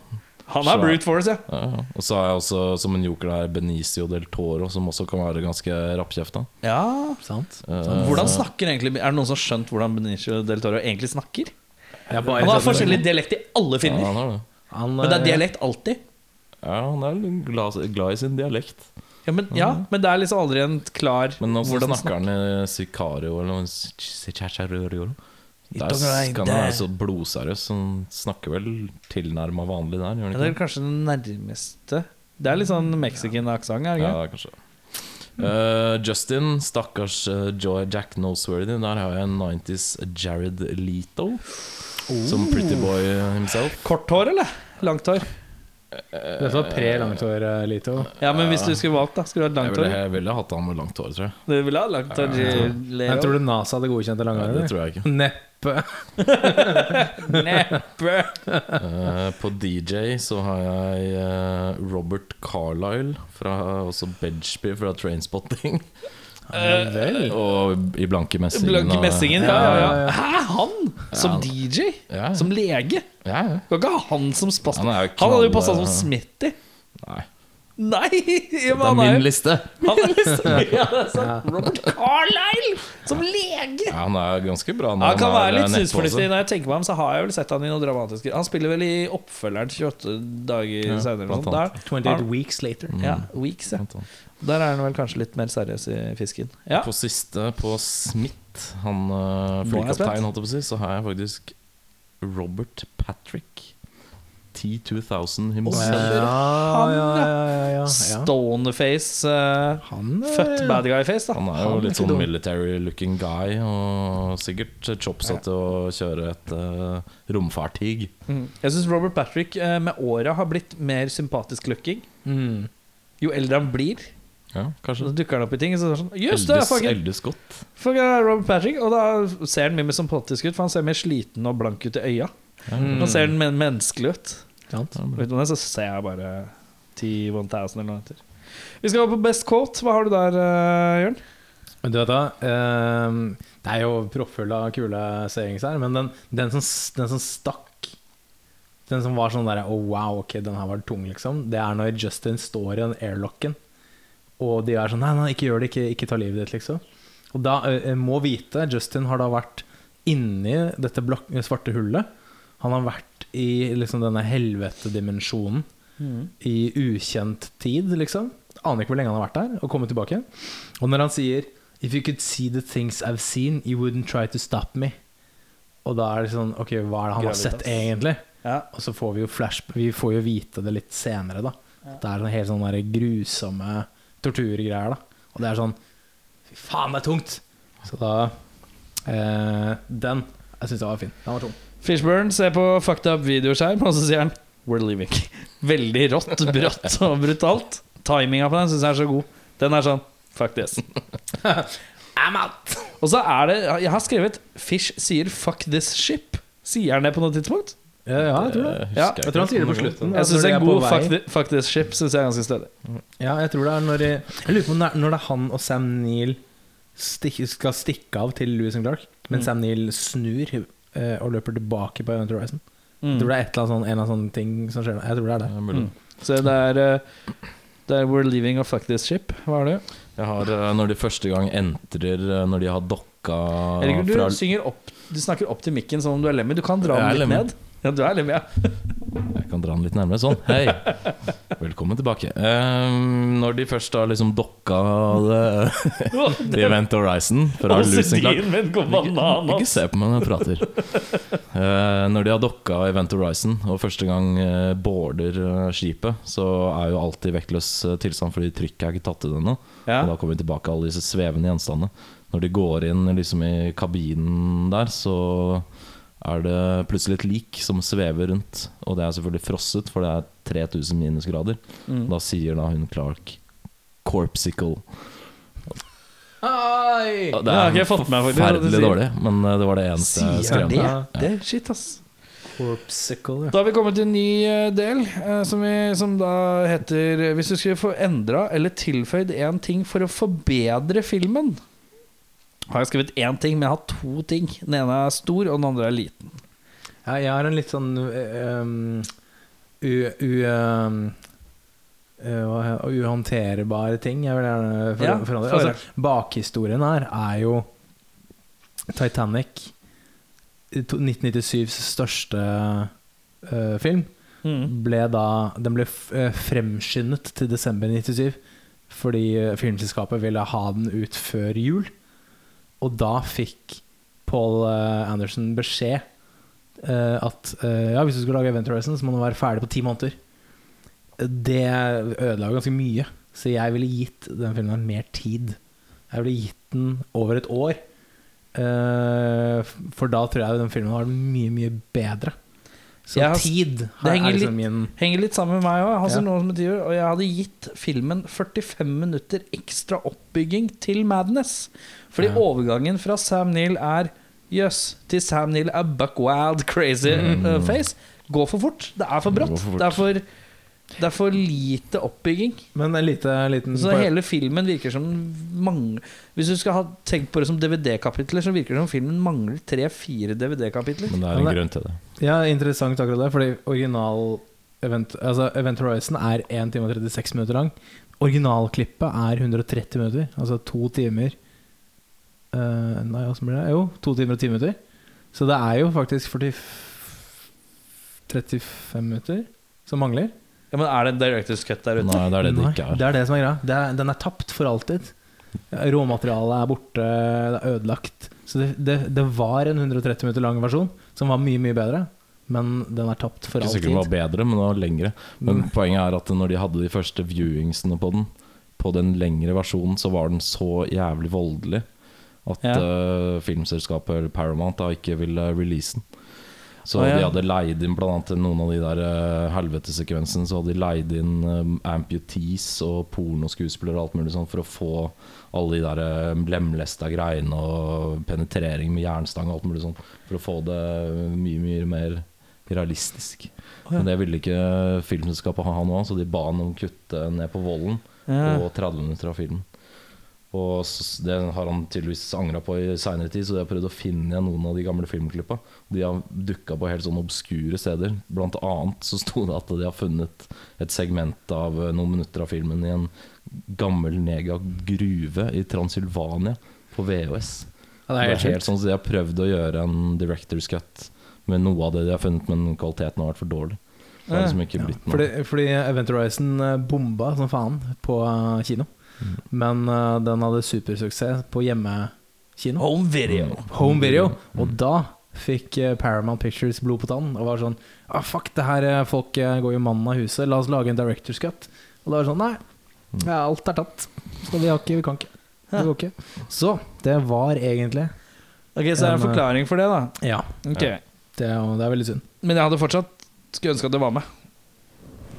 Speaker 1: Han er
Speaker 2: Svær.
Speaker 1: brute force, ja.
Speaker 2: Ja, ja. og så har jeg også som en joker der Benicio del Toro, som også kan være ganske rappkjefta.
Speaker 1: ja.
Speaker 4: Sant.
Speaker 2: Eh,
Speaker 1: Hvordan snakker egentlig Er det noen som har skjønt hvordan Benicio del Toro egentlig snakker?
Speaker 4: Jeg
Speaker 1: Han har forskjellig dialekt i alle
Speaker 2: ja,
Speaker 1: filmer.
Speaker 2: han har det.
Speaker 4: sånn- Han,
Speaker 1: Men det er
Speaker 4: eh,
Speaker 1: dialekt alltid.
Speaker 2: Ja, han er litt glad, glad i sin dialekt.
Speaker 1: Ja, men, ja, men det er liksom aldri en klar
Speaker 2: Mm. Men også
Speaker 1: hvordan
Speaker 2: snakker han i Sicario eller noe s- Sicario. Der
Speaker 1: don't like
Speaker 2: kan han være
Speaker 1: that.
Speaker 2: så blodseriøs. så Han snakker vel tilnærma vanlig der, gjør
Speaker 1: Ja,
Speaker 2: han
Speaker 1: det er
Speaker 2: ikke?
Speaker 1: kanskje den nærmeste Det er litt sånn mexican aksent, er det
Speaker 2: Ja,
Speaker 1: ikke?
Speaker 2: kanskje. Eh, Justin, stakkars eh, Joy Jack Noseworthy. Der har jeg en 90s Jared Leto. Som
Speaker 1: Oh.
Speaker 2: pretty boy himself.
Speaker 1: Kort hår, eller? Langt hår?
Speaker 4: Dette var pre-langthår sånn eh, Lito.
Speaker 1: Ja, men hvis du skulle valgt, da, skulle du hatt
Speaker 2: Jeg
Speaker 1: langt
Speaker 2: ville,
Speaker 1: hår?
Speaker 2: jeg ville hatt han med langt hår, tror jeg.
Speaker 1: Du ville ha langt hår,
Speaker 4: Jeg
Speaker 1: Leo?
Speaker 4: tror du NASA hadde godkjent det lange
Speaker 2: Nei, det tror jeg ikke.
Speaker 4: (laughs) Neppe.
Speaker 1: Neppe!
Speaker 2: Eh, på DJ så har jeg
Speaker 1: (laughs)
Speaker 2: eh, Robert Carlyle, fra, også Bedgeby fra Trainspotting.
Speaker 4: Ja vel.
Speaker 2: Og i blanke messingen.
Speaker 1: Blanke
Speaker 2: og-
Speaker 1: messingen. Ja, ja, ja. Hæ, han? Som
Speaker 2: Ja.
Speaker 1: DJ?
Speaker 2: Ja, ja.
Speaker 1: Som lege?
Speaker 2: Ja, ja.
Speaker 1: Det var ikke han som passet.
Speaker 2: Han
Speaker 1: Han,
Speaker 2: er jo
Speaker 1: hadde
Speaker 2: knall-
Speaker 1: jo passa som Smitty.
Speaker 2: Nei.
Speaker 1: Nei! (laughs) ja,
Speaker 2: Det
Speaker 1: men
Speaker 2: er
Speaker 1: han
Speaker 2: min
Speaker 1: er jo
Speaker 2: liste.
Speaker 1: han er liksom, (laughs) ja, det er sant. Robert Carlyle som lege!
Speaker 2: Ja, han er ganske bra. når
Speaker 1: Han kan
Speaker 2: har eh,
Speaker 1: være litt
Speaker 2: nettpose.
Speaker 1: synsfornuftig. Når jeg tenker meg om, så har jeg vel sett han i noe dramatisk. Han spiller vel i oppfølgeren 28 dager senere. eller
Speaker 2: blant
Speaker 1: noe sånt. Der-
Speaker 4: 28 weeks later.
Speaker 1: Ja, Weeks, ja.
Speaker 2: Vent da.
Speaker 1: Der er han vel kanskje litt mer seriøs i fisken. Ja.
Speaker 2: På siste, på Smith, han uh,
Speaker 1: Nå er jeg spent.
Speaker 2: flykaptein, holdt jeg på å si, så har jeg faktisk Robert Patrick. T2000 himself.
Speaker 1: Å,
Speaker 4: Ja, ja, ja, ja, ja. ja.
Speaker 1: Stoneface. eh,
Speaker 4: Han er-
Speaker 1: Født bad guy-face, da.
Speaker 2: Han er jo
Speaker 4: Han er
Speaker 2: litt
Speaker 4: ikke
Speaker 2: sånn
Speaker 4: dum.
Speaker 2: military looking guy, og sikkert chopsa til å kjøre et uh, romfartyg.
Speaker 1: Mm. Jeg syns Robert Patrick eh, med åra har blitt mer sympatisk looking.
Speaker 4: Mm.
Speaker 1: Jo eldre han blir,
Speaker 2: Ja,
Speaker 1: så
Speaker 2: kanskje.
Speaker 1: dukker han opp i ting. Så er det sånn, Jøss, det er
Speaker 2: Eldes,
Speaker 1: fucking,
Speaker 2: Eldes Scott.
Speaker 1: fucking Robert Patrick! Og da ser han mye mer sympatisk ut, for han ser mer sliten og blank ut i øya.
Speaker 4: Mm.
Speaker 1: Han ser den men menneskelig ut.
Speaker 4: Sant.
Speaker 1: Utenom det så ser jeg bare T1000 eller noe etter. Vi skal over på Best Quote. Hva har du der, eh, Jørn?
Speaker 4: Men du vet da, ehm, det er jo proppfull av kule sayings her, men den, den, som, s- den som stakk Den som var sånn derre Å, wow, ok, den her var tung, liksom. Det er når Justin står i den airlocken, og de er sånn Nei, nei, ikke gjør det, ikke, ikke ta livet ditt, liksom. Og da eh, må vite Justin har da vært inni dette blak svarte hullet. Han har vært i liksom denne helvetedimensjonen i ukjent tid, liksom. Aner ikke hvor lenge han har vært der, og kommer tilbake. Og når han sier If you could see the things I've seen, you wouldn't try to stop me. Og da er det sånn Ok, hva er det han har
Speaker 1: Gravitas.
Speaker 4: sett, egentlig?
Speaker 1: Ja.
Speaker 4: Og så får vi jo flash Vi får jo vite det litt senere, da. Det er sånn helt sånn der grusomme torturgreier, da. Og det er sånn Fy faen, det er tungt! Så da eh, Den Jeg syns den var fin. Den var tung.
Speaker 1: Fishburn ser på fucked up videoskjerm, (laughs) og så sier han We're leaving. Veldig rått, brått og brutalt. Timinga på den syns jeg er så god. Den er sånn fuck this.
Speaker 4: I'm out!
Speaker 1: Og så er det Jeg har skrevet Fish sier fuck this ship. Sier han det på noe tidspunkt?
Speaker 4: Ja, ja, jeg tror det.
Speaker 2: husker
Speaker 1: Ja,
Speaker 2: ikke
Speaker 4: jeg tror han sier det på
Speaker 2: helt.
Speaker 4: slutten.
Speaker 1: Jeg syns
Speaker 4: når de er
Speaker 1: en
Speaker 4: på
Speaker 1: god
Speaker 4: vei-
Speaker 1: fuck, thi- fuck this ship synes jeg er ganske stødig.
Speaker 4: Ja, jeg tror det er når de, Jeg lurer på om det er når det er han og Sam Neill stik, skal stikke av til Louis and Clark, men Sam Neill snur eh, og løper tilbake på Event Horizon.
Speaker 1: Mm.
Speaker 4: Jeg tror det er et eller annet sånn, en av sånne ting som skjer. Jeg tror det er det.
Speaker 2: Ja, mulig.
Speaker 1: Så det er eh, det er We're leaving og fuck this ship. Hva er det?
Speaker 2: Jeg har eh, Når de første gang entrer eh, Når de har dokka
Speaker 4: Ah,
Speaker 1: Herregud, du
Speaker 2: fra-
Speaker 1: synger opp Du snakker opp til mikken som om du er lemmy. Du kan dra
Speaker 2: Jeg er
Speaker 1: den litt
Speaker 2: lemmy.
Speaker 1: ned. Ja, du er lemmy, ja.
Speaker 4: (laughs)
Speaker 2: Jeg kan dra den litt nærmere sånn. Hei, velkommen tilbake. Ehm, når de først har liksom dokka det, The Event Horizon fra Losing Clark
Speaker 1: min går bananas.
Speaker 2: Ikke se på meg når jeg prater. Eh, når de har dokka Event Horizon og første gang eh, boarder eh, skipet, så er jo alltid vektløs eh, tilstand fordi trykket er ikke tatt ut ennå.
Speaker 1: Ja.
Speaker 2: Og da kommer vi tilbake alle disse svevende gjenstandene. Når de går inn liksom i kabinen der, så er det plutselig et lik som svever rundt. Og det er selvfølgelig frosset, for det er 3000 minusgrader.
Speaker 1: Mm.
Speaker 2: Da sier da hun Clark Corpsicle.
Speaker 4: Hei!
Speaker 2: Og
Speaker 1: Det har ikke jeg fått med meg, faktisk, at du
Speaker 2: forferdelig
Speaker 1: sier.
Speaker 2: dårlig, men eh, det var det eneste jeg
Speaker 1: Sier
Speaker 2: skrev.
Speaker 1: det?
Speaker 4: Ja.
Speaker 1: Det er shit, ass.
Speaker 4: Corpsicle, ja.
Speaker 1: Da har vi kommet til en ny eh, del, eh, som, vi, som da heter eh, Hvis du skulle få endra eller tilføyd én ting for å forbedre filmen Har jeg skrevet én ting, men jeg har to ting. Den ene er stor, og den andre er liten.
Speaker 4: ja. Jeg har en litt sånn eh, um, u... u um, eh, hva he- uhåndterbare ting jeg vil gjerne for,
Speaker 1: Ja,
Speaker 4: forandre.
Speaker 1: få høre.
Speaker 4: Altså, bakhistorien her er jo Titanic, to- 1997s største eh, film.
Speaker 2: Mm.
Speaker 4: ble da, den ble f- eh, fremskyndet til desember 97 fordi eh, filmselskapet ville ha den ut før jul. Og da fikk Paul eh, Anderson beskjed eh, at eh, ja, hvis du skal lage Event Horizon, så må den være ferdig på ti måneder. Det ødela jo ganske mye, så jeg ville gitt den filmen her mer tid. Jeg ville gitt den over et år. Eh, f- for da tror jeg den filmen var mye, mye bedre. Så
Speaker 1: Jeg har-
Speaker 4: tid
Speaker 1: Det
Speaker 4: her
Speaker 1: henger
Speaker 4: er liksom
Speaker 1: litt-
Speaker 4: min
Speaker 1: Henger litt sammen med meg òg. Jeg har
Speaker 4: Ja.
Speaker 1: sånn noe som betyr, og jeg hadde gitt filmen 45 minutter ekstra oppbygging til Madness. Fordi overgangen fra Sam Neill er jøss til Sam Neill er buck wild crazy eh, face. Går for fort. Mm. Det er for brått.
Speaker 2: Går for fort.
Speaker 1: Det er for Det er for lite oppbygging.
Speaker 4: Men en lite, liten
Speaker 1: Så hele filmen virker som mange Hvis du skal ha tenkt på det som DVD-kapitler, så virker det som filmen mangler tre-fire DVD-kapitler.
Speaker 2: Men det
Speaker 4: Ja,
Speaker 2: er en
Speaker 4: det-
Speaker 2: grunn til det.
Speaker 4: Ja, interessant akkurat det, fordi original Event, altså Event Horizon er 1 time og 36 minutter lang. Originalklippet er 130 minutter, altså to timer Eh, Nei, hvordan blir det? Jo, to timer og ti minutter. Så det er jo faktisk 40 35 minutter som mangler.
Speaker 1: Ja, men er det en director's cut der ute?
Speaker 2: Nei, det er det det
Speaker 4: Nei,
Speaker 2: ikke er.
Speaker 4: Det er det som er greia. Det er, den er tapt for alltid. Råmaterialet er borte, det er ødelagt. Så det, det, det var en 130 minutter lang versjon som var mye, mye bedre. Men den er tapt for
Speaker 2: Ikke sikkert den var
Speaker 4: alltid.
Speaker 2: bedre, men den var lengre. Men
Speaker 4: Mm.
Speaker 2: poenget er at når de hadde de første viewingsene på den, på den lengre versjonen, så var den så jævlig voldelig at
Speaker 1: Ja.
Speaker 2: eh, filmselskapet eller Paramount da ikke ville release den. Så
Speaker 1: Å, ja.
Speaker 2: de hadde leid inn blant annet til noen av de der eh, helvetesekvensene. Så hadde de leid inn eh, amputees og pornoskuespillere og alt mulig sånn for å få alle de der eh, lemlesta greiene og penetrering med jernstang og alt mulig sånn. For å få det eh, mye, mye mer realistisk. Men det ville ikke filmselskapet ha nå, så de ba han om å kutte ned på volden
Speaker 1: Ja.
Speaker 2: på 30 minutter av filmen. Og s- Det har han tydeligvis angra på i seinere tid, så jeg har prøvd å finne igjen noen av de gamle filmklippa. De har dukka på helt sånne obskure steder. Blant annet så sto det at de har funnet et segment av eh, noen minutter av filmen i en gammel nega gruve i Transilvania på VHS.
Speaker 4: Ja,
Speaker 2: Det er helt, sånn at De har prøvd å gjøre en director's cut med noe av det de har funnet, men kvaliteten har vært for dårlig.
Speaker 1: Ja,
Speaker 2: Det har liksom ikke
Speaker 4: Ja,
Speaker 2: blitt noe.
Speaker 4: fordi, fordi Event Horizon eh, bomba som faen på eh, kino.
Speaker 2: Mm.
Speaker 4: Men eh, den hadde supersuksess på hjemmekino.
Speaker 1: Home video.
Speaker 4: Home video. Og da fikk eh, Paramount Pictures blod på tann og var sånn ah, Fuck, det her eh, folk eh, går jo mannen av huset, la oss lage en director's cut. Og da var det sånn Nei, ja, alt er tatt. Så vi har ikke, vi kan ikke. Det går ikke. Så det var egentlig
Speaker 1: Ok, Så er det en
Speaker 4: Men, eh,
Speaker 1: forklaring for det, da.
Speaker 4: Ja.
Speaker 1: Ok.
Speaker 2: Ja.
Speaker 4: Det er, jo- det er veldig synd.
Speaker 1: Men jeg hadde fortsatt skulle ønske at det var med.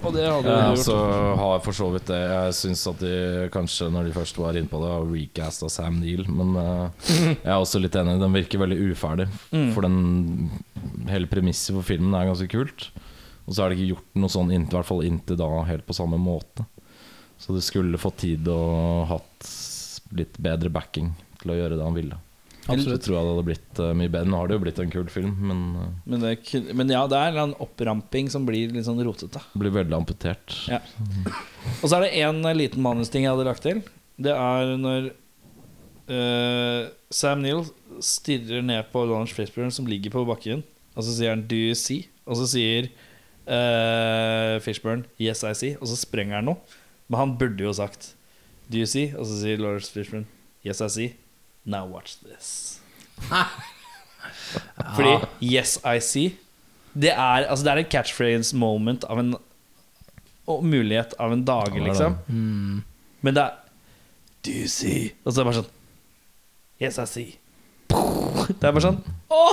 Speaker 1: Og det hadde
Speaker 2: Ja,
Speaker 1: du gjort.
Speaker 2: så Altså, har jeg for så vidt det. Jeg syns at de kanskje, når de først var inne på det, har recasta Sam Neill. Men
Speaker 1: (laughs)
Speaker 2: eh, jeg er også litt enig. Den virker veldig uferdig.
Speaker 1: Mm.
Speaker 2: For den hele premisset for filmen er ganske kult. Og så er det ikke gjort noe sånn inntil, i hvert fall inntil da helt på samme måte. Så du skulle fått tid og hatt litt bedre backing til å gjøre det han ville. Så tror jeg det hadde blitt eh, mye bedre. Nå har det jo blitt en kul film, men eh,
Speaker 1: Men, det, kun- men ja, det er en eller annen oppramping som blir litt sånn rotete.
Speaker 2: det blir veldig amputert.
Speaker 1: Ja. Og så er det én liten manusting jeg hadde lagt til. Det er når eh, Sam Neill stirrer ned på Lawrence Fishburne som ligger på bakken, og så sier han 'Do you see?' Og så sier eh, Fishburne 'Yes, I see', og så sprenger han noe. Men han burde jo sagt 'Do you see?' Og så sier Lawrence Fishburne 'Yes, I see'. Now watch (laughs) this. Fordi 'Yes, I see' Det er, altså, det er en catchphrase moment av en og mulighet av en dage,
Speaker 2: Ja, det er
Speaker 1: liksom.
Speaker 2: det.
Speaker 4: Mm.
Speaker 1: Men det er Do you see? Og så er det bare sånn Yes, I see. Det er bare sånn Å!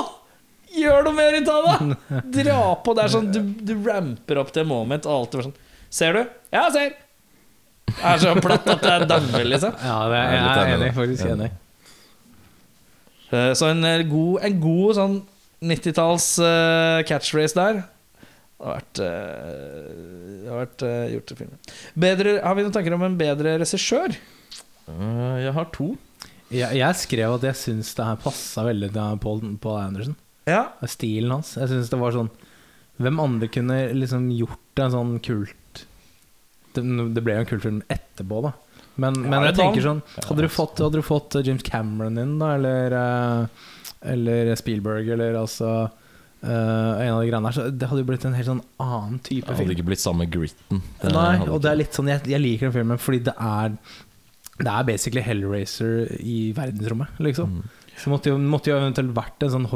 Speaker 1: Gjør noe mer ut av det! Dra på. Det er sånn Du, du ramper opp til moment, og alt er bare sånn Ser du? Ja, jeg ser! Det er så platt at det er dauer, liksom.
Speaker 4: Ja, det
Speaker 2: Jeg
Speaker 4: er,
Speaker 2: er
Speaker 4: jeg
Speaker 2: litt
Speaker 4: er
Speaker 2: enig
Speaker 4: enig.
Speaker 2: i det.
Speaker 4: Faktisk enig.
Speaker 1: Eh, Så en eh, god, en god sånn 90-talls eh, catchphrase der Det har vært, eh, det har vært eh, gjort til filmen. Bedre, har vi noen tanker om en bedre regissør?
Speaker 2: Eh, jeg har to.
Speaker 4: Jeg, jeg skrev at jeg syns det her passa veldig til Paul, Paul Anderson.
Speaker 1: Ja.
Speaker 4: Stilen hans. Jeg syns det var sånn Hvem andre kunne liksom gjort en sånn kult Det, det ble jo en kultfilm etterpå, da. Men, men jeg
Speaker 1: det er
Speaker 4: tenker sånn Hadde du fått, hadde du fått eh, James Cameron inn, da, eller, eh, eller Spielberg, eller altså eh, en av de greiene der, så det hadde jo blitt en helt sånn annen type
Speaker 2: Det
Speaker 4: film.
Speaker 2: hadde ikke blitt samme gritten. Det
Speaker 4: Nei,
Speaker 2: Eh, hadde
Speaker 4: og det er
Speaker 2: ikke-
Speaker 4: litt sånn Jeg, jeg liker den filmen fordi det er Det er basically Hellraiser i verdensrommet, liksom.
Speaker 2: Mm.
Speaker 4: Så måtte jo, måtte jo eventuelt vært en sånn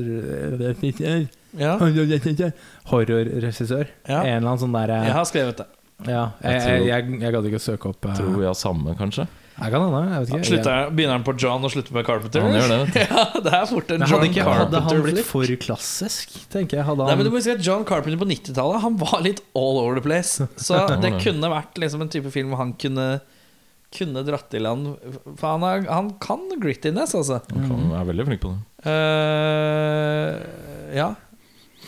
Speaker 4: horrorregissør
Speaker 1: ja.
Speaker 4: Horrorregissør.
Speaker 1: Ja.
Speaker 4: En eller annen sånn derre
Speaker 1: Jeg
Speaker 4: ja.
Speaker 1: har skrevet det.
Speaker 4: jeg, jeg,
Speaker 2: tror-
Speaker 4: jeg, jeg gadd ikke å søke opp eh,
Speaker 2: Tror vi har samme, kanskje.
Speaker 4: Jeg kan hende, jeg vet ikke.
Speaker 1: Slutter, begynner han på John og slutter med Carpenter?
Speaker 2: Han gjør det, vet du.
Speaker 1: (laughs) ja, det er fort en
Speaker 4: Men
Speaker 1: John
Speaker 4: hadde, ikke, hadde han blitt
Speaker 1: Carpenter-flipp.
Speaker 4: for klassisk, tenker jeg? Hadde
Speaker 1: Nei, men du
Speaker 4: han,
Speaker 1: må huske at John Carpenter på 90-tallet Han var litt all over the place.
Speaker 2: (laughs)
Speaker 1: Så det kunne vært liksom en type film hvor han kunne kunne dratt i land For han, er, han kan grittiness, altså.
Speaker 2: Han kan, er veldig flink på det.
Speaker 1: Eh, ja.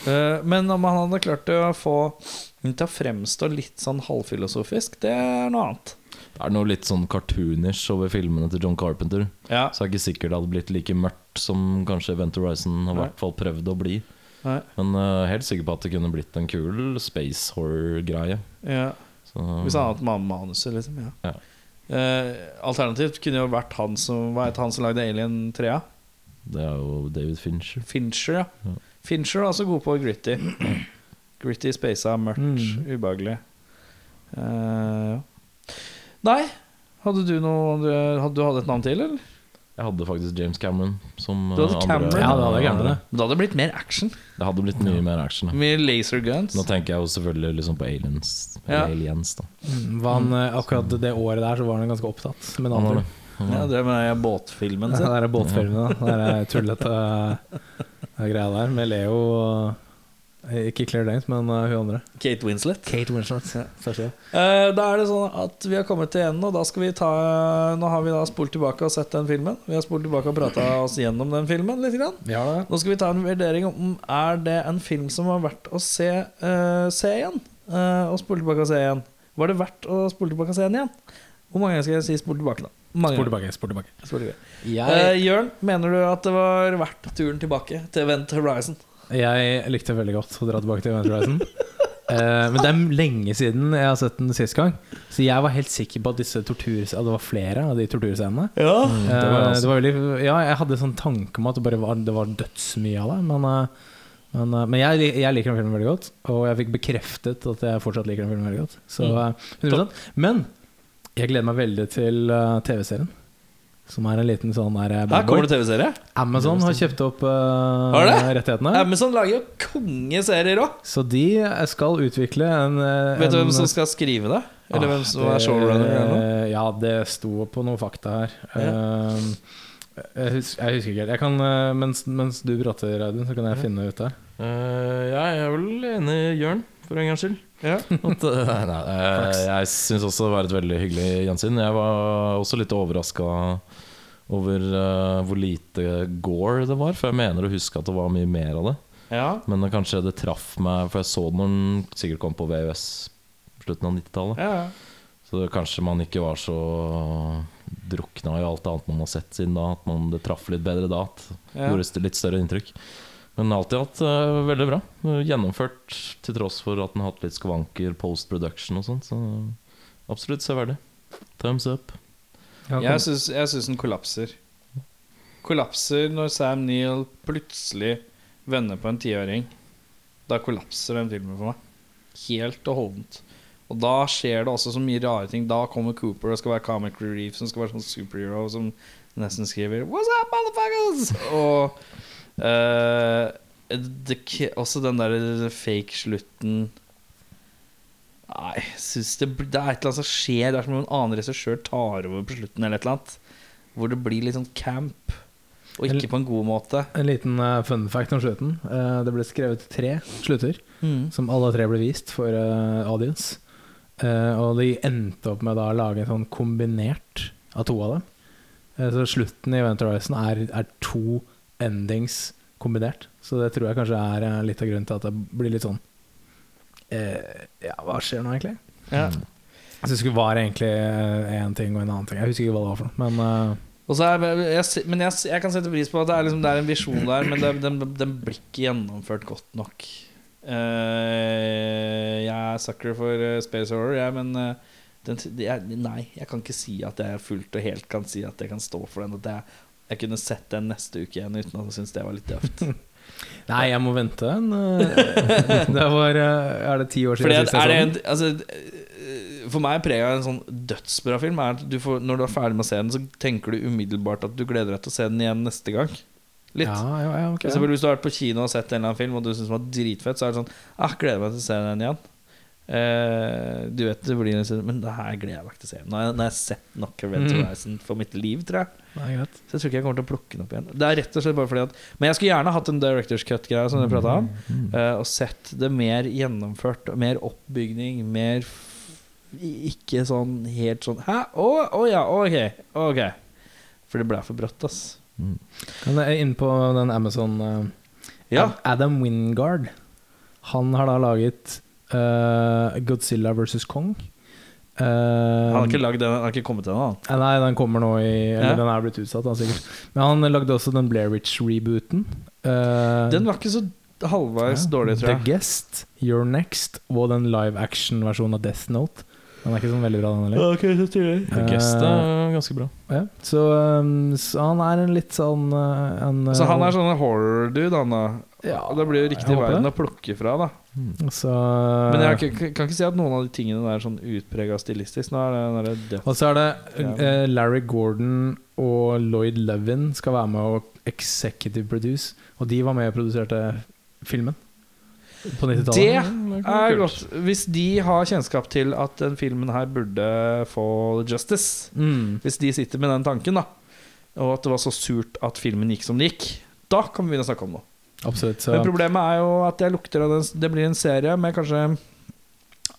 Speaker 1: Eh, Men om han hadde klart å få den til å fremstå litt sånn halvfilosofisk, det er noe annet.
Speaker 2: Det er noe litt sånn cartoonish over filmene til John Carpenter.
Speaker 1: Ja.
Speaker 2: Så det er ikke sikkert det hadde blitt like mørkt som kanskje Event Horizon har i
Speaker 1: Nei.
Speaker 2: hvert fall prøvd å bli.
Speaker 1: Nei.
Speaker 2: Men eh, helt sikker på at det kunne blitt en kul space horror-greie.
Speaker 1: Ja.
Speaker 2: Så,
Speaker 1: Hvis han hadde hatt manuset, liksom. Ja.
Speaker 2: Ja.
Speaker 1: Eh, alternativt kunne jo vært han som Hva het han som lagde Alien 3? Ja?
Speaker 2: Det er jo David Fincher.
Speaker 1: Fincher, ja.
Speaker 2: Ja.
Speaker 1: Fincher er altså god på gritty. (clears throat) Gritty spasa, mørkt,
Speaker 4: Mm.
Speaker 1: ubehagelig. Eh, ja. Nei, hadde du noe andre- Hadde du hatt et navn til, eller?
Speaker 2: Jeg hadde faktisk James Cameron som
Speaker 1: Du hadde
Speaker 2: eh,
Speaker 1: Cameron?
Speaker 2: andre.
Speaker 4: Ja, det hadde jeg glemt det.
Speaker 1: Da hadde det blitt mer action.
Speaker 2: Det hadde blitt mye mer action. Da.
Speaker 1: Mye laser guns.
Speaker 2: Nå tenker jeg jo selvfølgelig liksom på aliens.
Speaker 1: Ja.
Speaker 2: aliens da.
Speaker 4: Var han, eh, akkurat det året der så var han ganske opptatt med
Speaker 2: Han var
Speaker 4: navn.
Speaker 2: det.
Speaker 1: Ja, det med den båtfilmen
Speaker 4: Den
Speaker 1: sin.
Speaker 4: der båtfilmen, da. Den der tullete eh, greia der med Leo og Ikke Claire Danes, men eh, hun andre.
Speaker 1: Kate Winslet.
Speaker 4: Kate Winslet. Ja.
Speaker 1: Eh, Da er det sånn at vi har kommet til enden, og da skal vi ta Nå har vi da spolt tilbake og sett den filmen. Vi har spolt tilbake og prata oss gjennom den filmen litt. Grann.
Speaker 4: Ja, da.
Speaker 1: Nå skal vi ta en vurdering om er det en film som var verdt å se, eh, se igjen. Eh, og spole tilbake og se igjen. Var det verdt å spole tilbake og se den igjen? Hvor mange ganger skal jeg si spole tilbake, da? Mange
Speaker 4: Spol
Speaker 1: ganger.
Speaker 4: tilbake. Spol tilbake.
Speaker 1: Spol tilbake. Eh,
Speaker 4: Jeg,
Speaker 1: Jørn, mener du at det var verdt turen tilbake til Event Horizon?
Speaker 4: jeg likte veldig godt å dra tilbake til Event Horizon. Eh, men det er lenge siden jeg har sett den sist gang. Så jeg var helt sikker på at disse tortur, at det var flere av de torturscenene.
Speaker 1: Ja.
Speaker 4: Eh,
Speaker 2: Det var jeg også.
Speaker 4: det
Speaker 1: altså-
Speaker 4: var veldig, ja, jeg hadde sånn tanke om at det bare var, det var dødsmye av det. Men, eh, men, eh, men jeg, jeg liker den filmen veldig godt, og jeg fikk bekreftet at jeg fortsatt liker den filmen veldig godt. Så,
Speaker 1: Mm.
Speaker 4: eh, 100%. Men jeg gleder meg veldig til eh, TV-serien. Som er en liten sånn der eh,
Speaker 1: Her
Speaker 4: bad
Speaker 1: kommer det
Speaker 4: boy.
Speaker 1: TV-serie.
Speaker 4: Amazon har kjøpt opp eh,
Speaker 1: Har det?
Speaker 4: rettighetene.
Speaker 1: Amazon lager jo kongeserier òg.
Speaker 4: Så de eh, skal utvikle en eh,
Speaker 1: Vet du
Speaker 4: en-
Speaker 1: hvem som skal skrive det? Eller
Speaker 4: Ah,
Speaker 1: hvem som
Speaker 4: det-
Speaker 1: er showrunner? Eller noe?
Speaker 4: Ja, det sto på noen fakta her. Um, jeg, husker, jeg husker ikke helt. Jeg kan, eh, mens, mens du prater, Audun, så kan jeg finne ut det.
Speaker 2: Eh, ja, jeg er vel enig i Jørn, for en gangs skyld.
Speaker 1: Ja.
Speaker 2: At, eh, (laughs) nei, eh, jeg syns også det var et veldig hyggelig gjensyn. Jeg var også litt overraska over eh, hvor lite gore det var, for jeg mener å huske at det var mye mer av det.
Speaker 1: ja.
Speaker 2: Men det kanskje det traff meg, for jeg så det når den sikkert kom på VØS slutten av 90-tallet.
Speaker 1: ja.
Speaker 2: Så det, kanskje man ikke var så drukna i alt annet man har sett siden da, at man, det traff litt bedre da. At
Speaker 1: Ja.
Speaker 2: Gjorde st- litt større inntrykk. Men alt i alt eh, veldig bra. Gjennomført til tross for at den har hatt litt skvanker post production og sånt. Så absolutt severdig. Thumbs up.
Speaker 1: Jeg syns, jeg syns den kollapser. Kollapser når Sam Neill plutselig vender på en tiåring. Da kollapser den filmen for meg. Helt og holdent. Og da skjer det også så mye rare ting. Da kommer Cooper og skal være comic relief, som skal være sånn superhero som nesten skriver What's up, motherfuckers? Og eh, det, k- også den der fake slutten Nei, jeg synes det, bl- det er et eller annet som skjer. Det er som om en annen regissør tar over på slutten, eller et eller annet. Hvor det blir litt sånn camp, og ikke på en god måte.
Speaker 4: En liten eh, fun fact om slutten. Eh, det ble skrevet tre slutter, som alle tre ble vist for eh, audience. Eh, og de endte opp med da å lage en sånn kombinert av to av dem. Eh, så slutten i Event Horizon er, er to endings kombinert. Så det tror jeg kanskje er eh, litt av grunnen til at det blir litt sånn eh, Ja, hva skjer nå, egentlig?
Speaker 1: Ja.
Speaker 4: Jeg husker det var egentlig én ting og en annen ting. Jeg husker ikke hva det var for noe. Men eh,
Speaker 1: Og så er, jeg, se- men jeg, se- jeg kan sette pris på at det er, liksom, det er en visjon der, men det, den, den blir ikke gjennomført godt nok. Eh, jeg er sucker for eh, Space Horror, jeg, men eh, den, t- jeg, Nei, jeg kan ikke si at jeg fullt og helt kan si at jeg kan stå for den. At jeg, jeg kunne sett den neste uke igjen uten at jeg syntes det var litt døvt.
Speaker 4: nei, jeg må vente en eh, (laughs) Det var eh, Er det ti år
Speaker 1: Fordi
Speaker 4: siden
Speaker 1: at,
Speaker 4: sist
Speaker 1: er
Speaker 4: jeg så
Speaker 1: det
Speaker 4: den?
Speaker 1: en, altså, for meg er preget av en sånn dødsbra film er at du får, Når du er ferdig med å se den, så tenker du umiddelbart at du gleder deg til å se den igjen neste gang. Litt.
Speaker 4: Ja, ja, ja, ok.
Speaker 1: For eksempel Hvis du har vært på kino og sett en eller annen film og du syns den var dritfett, så er det sånn ah, 'Gleder meg til å se den igjen'. Eh, du vet det blir en stund, Men det her gleder jeg meg ikke til å se. Nå har jeg, nå har jeg sett nok av Red
Speaker 4: Mm.
Speaker 1: Horizon for mitt liv, tror jeg.
Speaker 4: Nei, greit.
Speaker 1: Så jeg tror ikke jeg kommer til å plukke den opp igjen. Det er rett og slett bare fordi at Men jeg skulle gjerne hatt en Directors Cut-greie
Speaker 4: Mm.
Speaker 1: som dere prata om. eh, og sett det mer gjennomført. og Mer oppbygning. Mer f i- Ikke sånn helt sånn Hæ? Å å ja, ok. Ok. For det ble for brått, ass.
Speaker 4: Men jeg er inne på den Amazon eh,
Speaker 1: Ja.
Speaker 4: Ad- Adam Wingard Han har da laget eh, Godzilla versus Kong. Eh,
Speaker 1: Han har ikke, lagd den, han har ikke kommet til den, han.
Speaker 4: Eh, Nei, den kommer nå i Eller
Speaker 1: Ja.
Speaker 4: den er blitt utsatt, da, sikkert. Men han lagde også den Blairwich-rebooten. Uh,
Speaker 1: Den var ikke så halvveis dårlig, tror
Speaker 4: The
Speaker 1: jeg.
Speaker 4: Guest, Your Next og den live action-versjonen av Death Note. Den er ikke sånn veldig bra, den heller. Eh,
Speaker 1: Ok, så tydelig.
Speaker 2: The Guest
Speaker 1: Eh.
Speaker 2: er ganske bra.
Speaker 4: Ja, så, um, så han er en litt sånn uh, en,
Speaker 1: Så han er sånn horror-dude, han da.
Speaker 4: Ja,
Speaker 1: Og det blir jo riktig
Speaker 4: jeg håper
Speaker 1: verden
Speaker 4: det.
Speaker 1: å plukke fra, da.
Speaker 2: Mm.
Speaker 4: Så,
Speaker 1: Men jeg kan, kan ikke si at noen av de tingene der er sånn utprega stilistisk. Nå er det den derre death
Speaker 4: Og så er det
Speaker 1: Ja.
Speaker 4: eh, Larry Gordon og Lloyd Levin skal være med og executive produce, og de var med og produserte filmen på 90-tallet.
Speaker 1: Det er godt. Hvis de har kjennskap til at den filmen her burde få justice,
Speaker 4: Mm.
Speaker 1: hvis de sitter med den tanken, da, og at det var så surt at filmen gikk som det gikk, da kan vi begynne å snakke om noe.
Speaker 4: Absolutt. Så
Speaker 1: Men problemet er jo at jeg lukter av den Det blir en serie med kanskje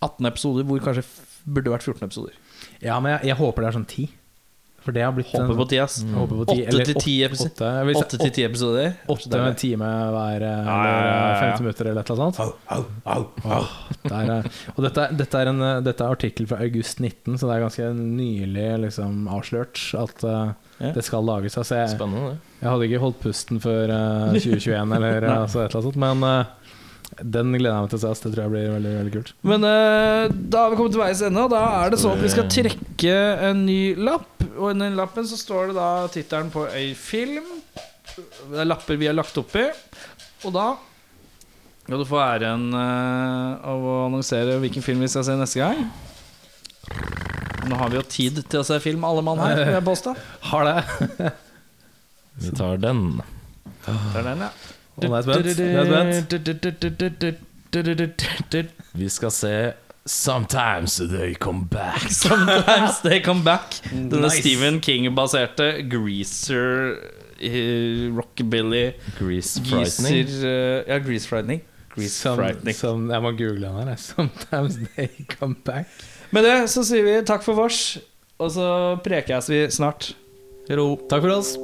Speaker 1: 18 episoder, hvor kanskje f- burde vært 14 episoder.
Speaker 4: Ja, men jeg, jeg håper det er sånn ti. For det har blitt
Speaker 1: Håper på 10, ass.
Speaker 4: Jeg håper på ti.
Speaker 1: Åtte til ti episoder.
Speaker 4: Åtte, Jeg vil si
Speaker 1: 8 til 10 episoder.
Speaker 4: åtte med en time hver
Speaker 1: Ja,
Speaker 4: eh,
Speaker 1: ja, ja,
Speaker 4: eller
Speaker 1: ja, ja.
Speaker 4: 50 minutter eller et eller annet sånt. Åh, det er, eh, og dette, er- dette, er en, eh, dette er artikkel fra august 19, så det er ganske nylig liksom, avslørt at eh,
Speaker 1: Ja.
Speaker 4: det skal lages. Altså, jeg,
Speaker 2: Spennende, det.
Speaker 4: jeg hadde ikke holdt pusten før eh, 2021
Speaker 1: (laughs)
Speaker 4: eller eh, altså, et eller annet sånt, men eh, den gleder jeg meg til å se. ass. Det tror jeg blir veldig, veldig kult.
Speaker 1: Men eh, da har vi kommet til veis ende, og da er det så at vi skal trekke en ny lapp. Og i den lappen så står det da tittelen på ei film. Det er lapper vi har lagt oppi. Og da skal du få æren eh, av å annonsere hvilken film vi skal se neste gang. Nå har vi jo tid til å se film, alle mann her. vil Jeg påstå.
Speaker 4: Har det!
Speaker 2: Vi tar den.
Speaker 1: Det er den, ja.
Speaker 4: Og nå er jeg spent. Nå er jeg spent.
Speaker 2: Vi skal se Sometimes They Come
Speaker 1: (laughs)
Speaker 2: Back.
Speaker 4: (laughs)
Speaker 1: Sometimes they come back. Denne
Speaker 4: Nice.
Speaker 1: Stephen King-baserte greaser eh, Rockabilly
Speaker 2: Grease
Speaker 1: Greaser
Speaker 2: Frightening.
Speaker 1: eh, Ja, Grease Frightening. Grease
Speaker 4: Som,
Speaker 1: Frightening.
Speaker 4: som, jeg må google den her. jeg. Sometimes they come back.
Speaker 1: Med det så sier vi takk for vårs, og så prekes vi snart.
Speaker 4: Takk for oss.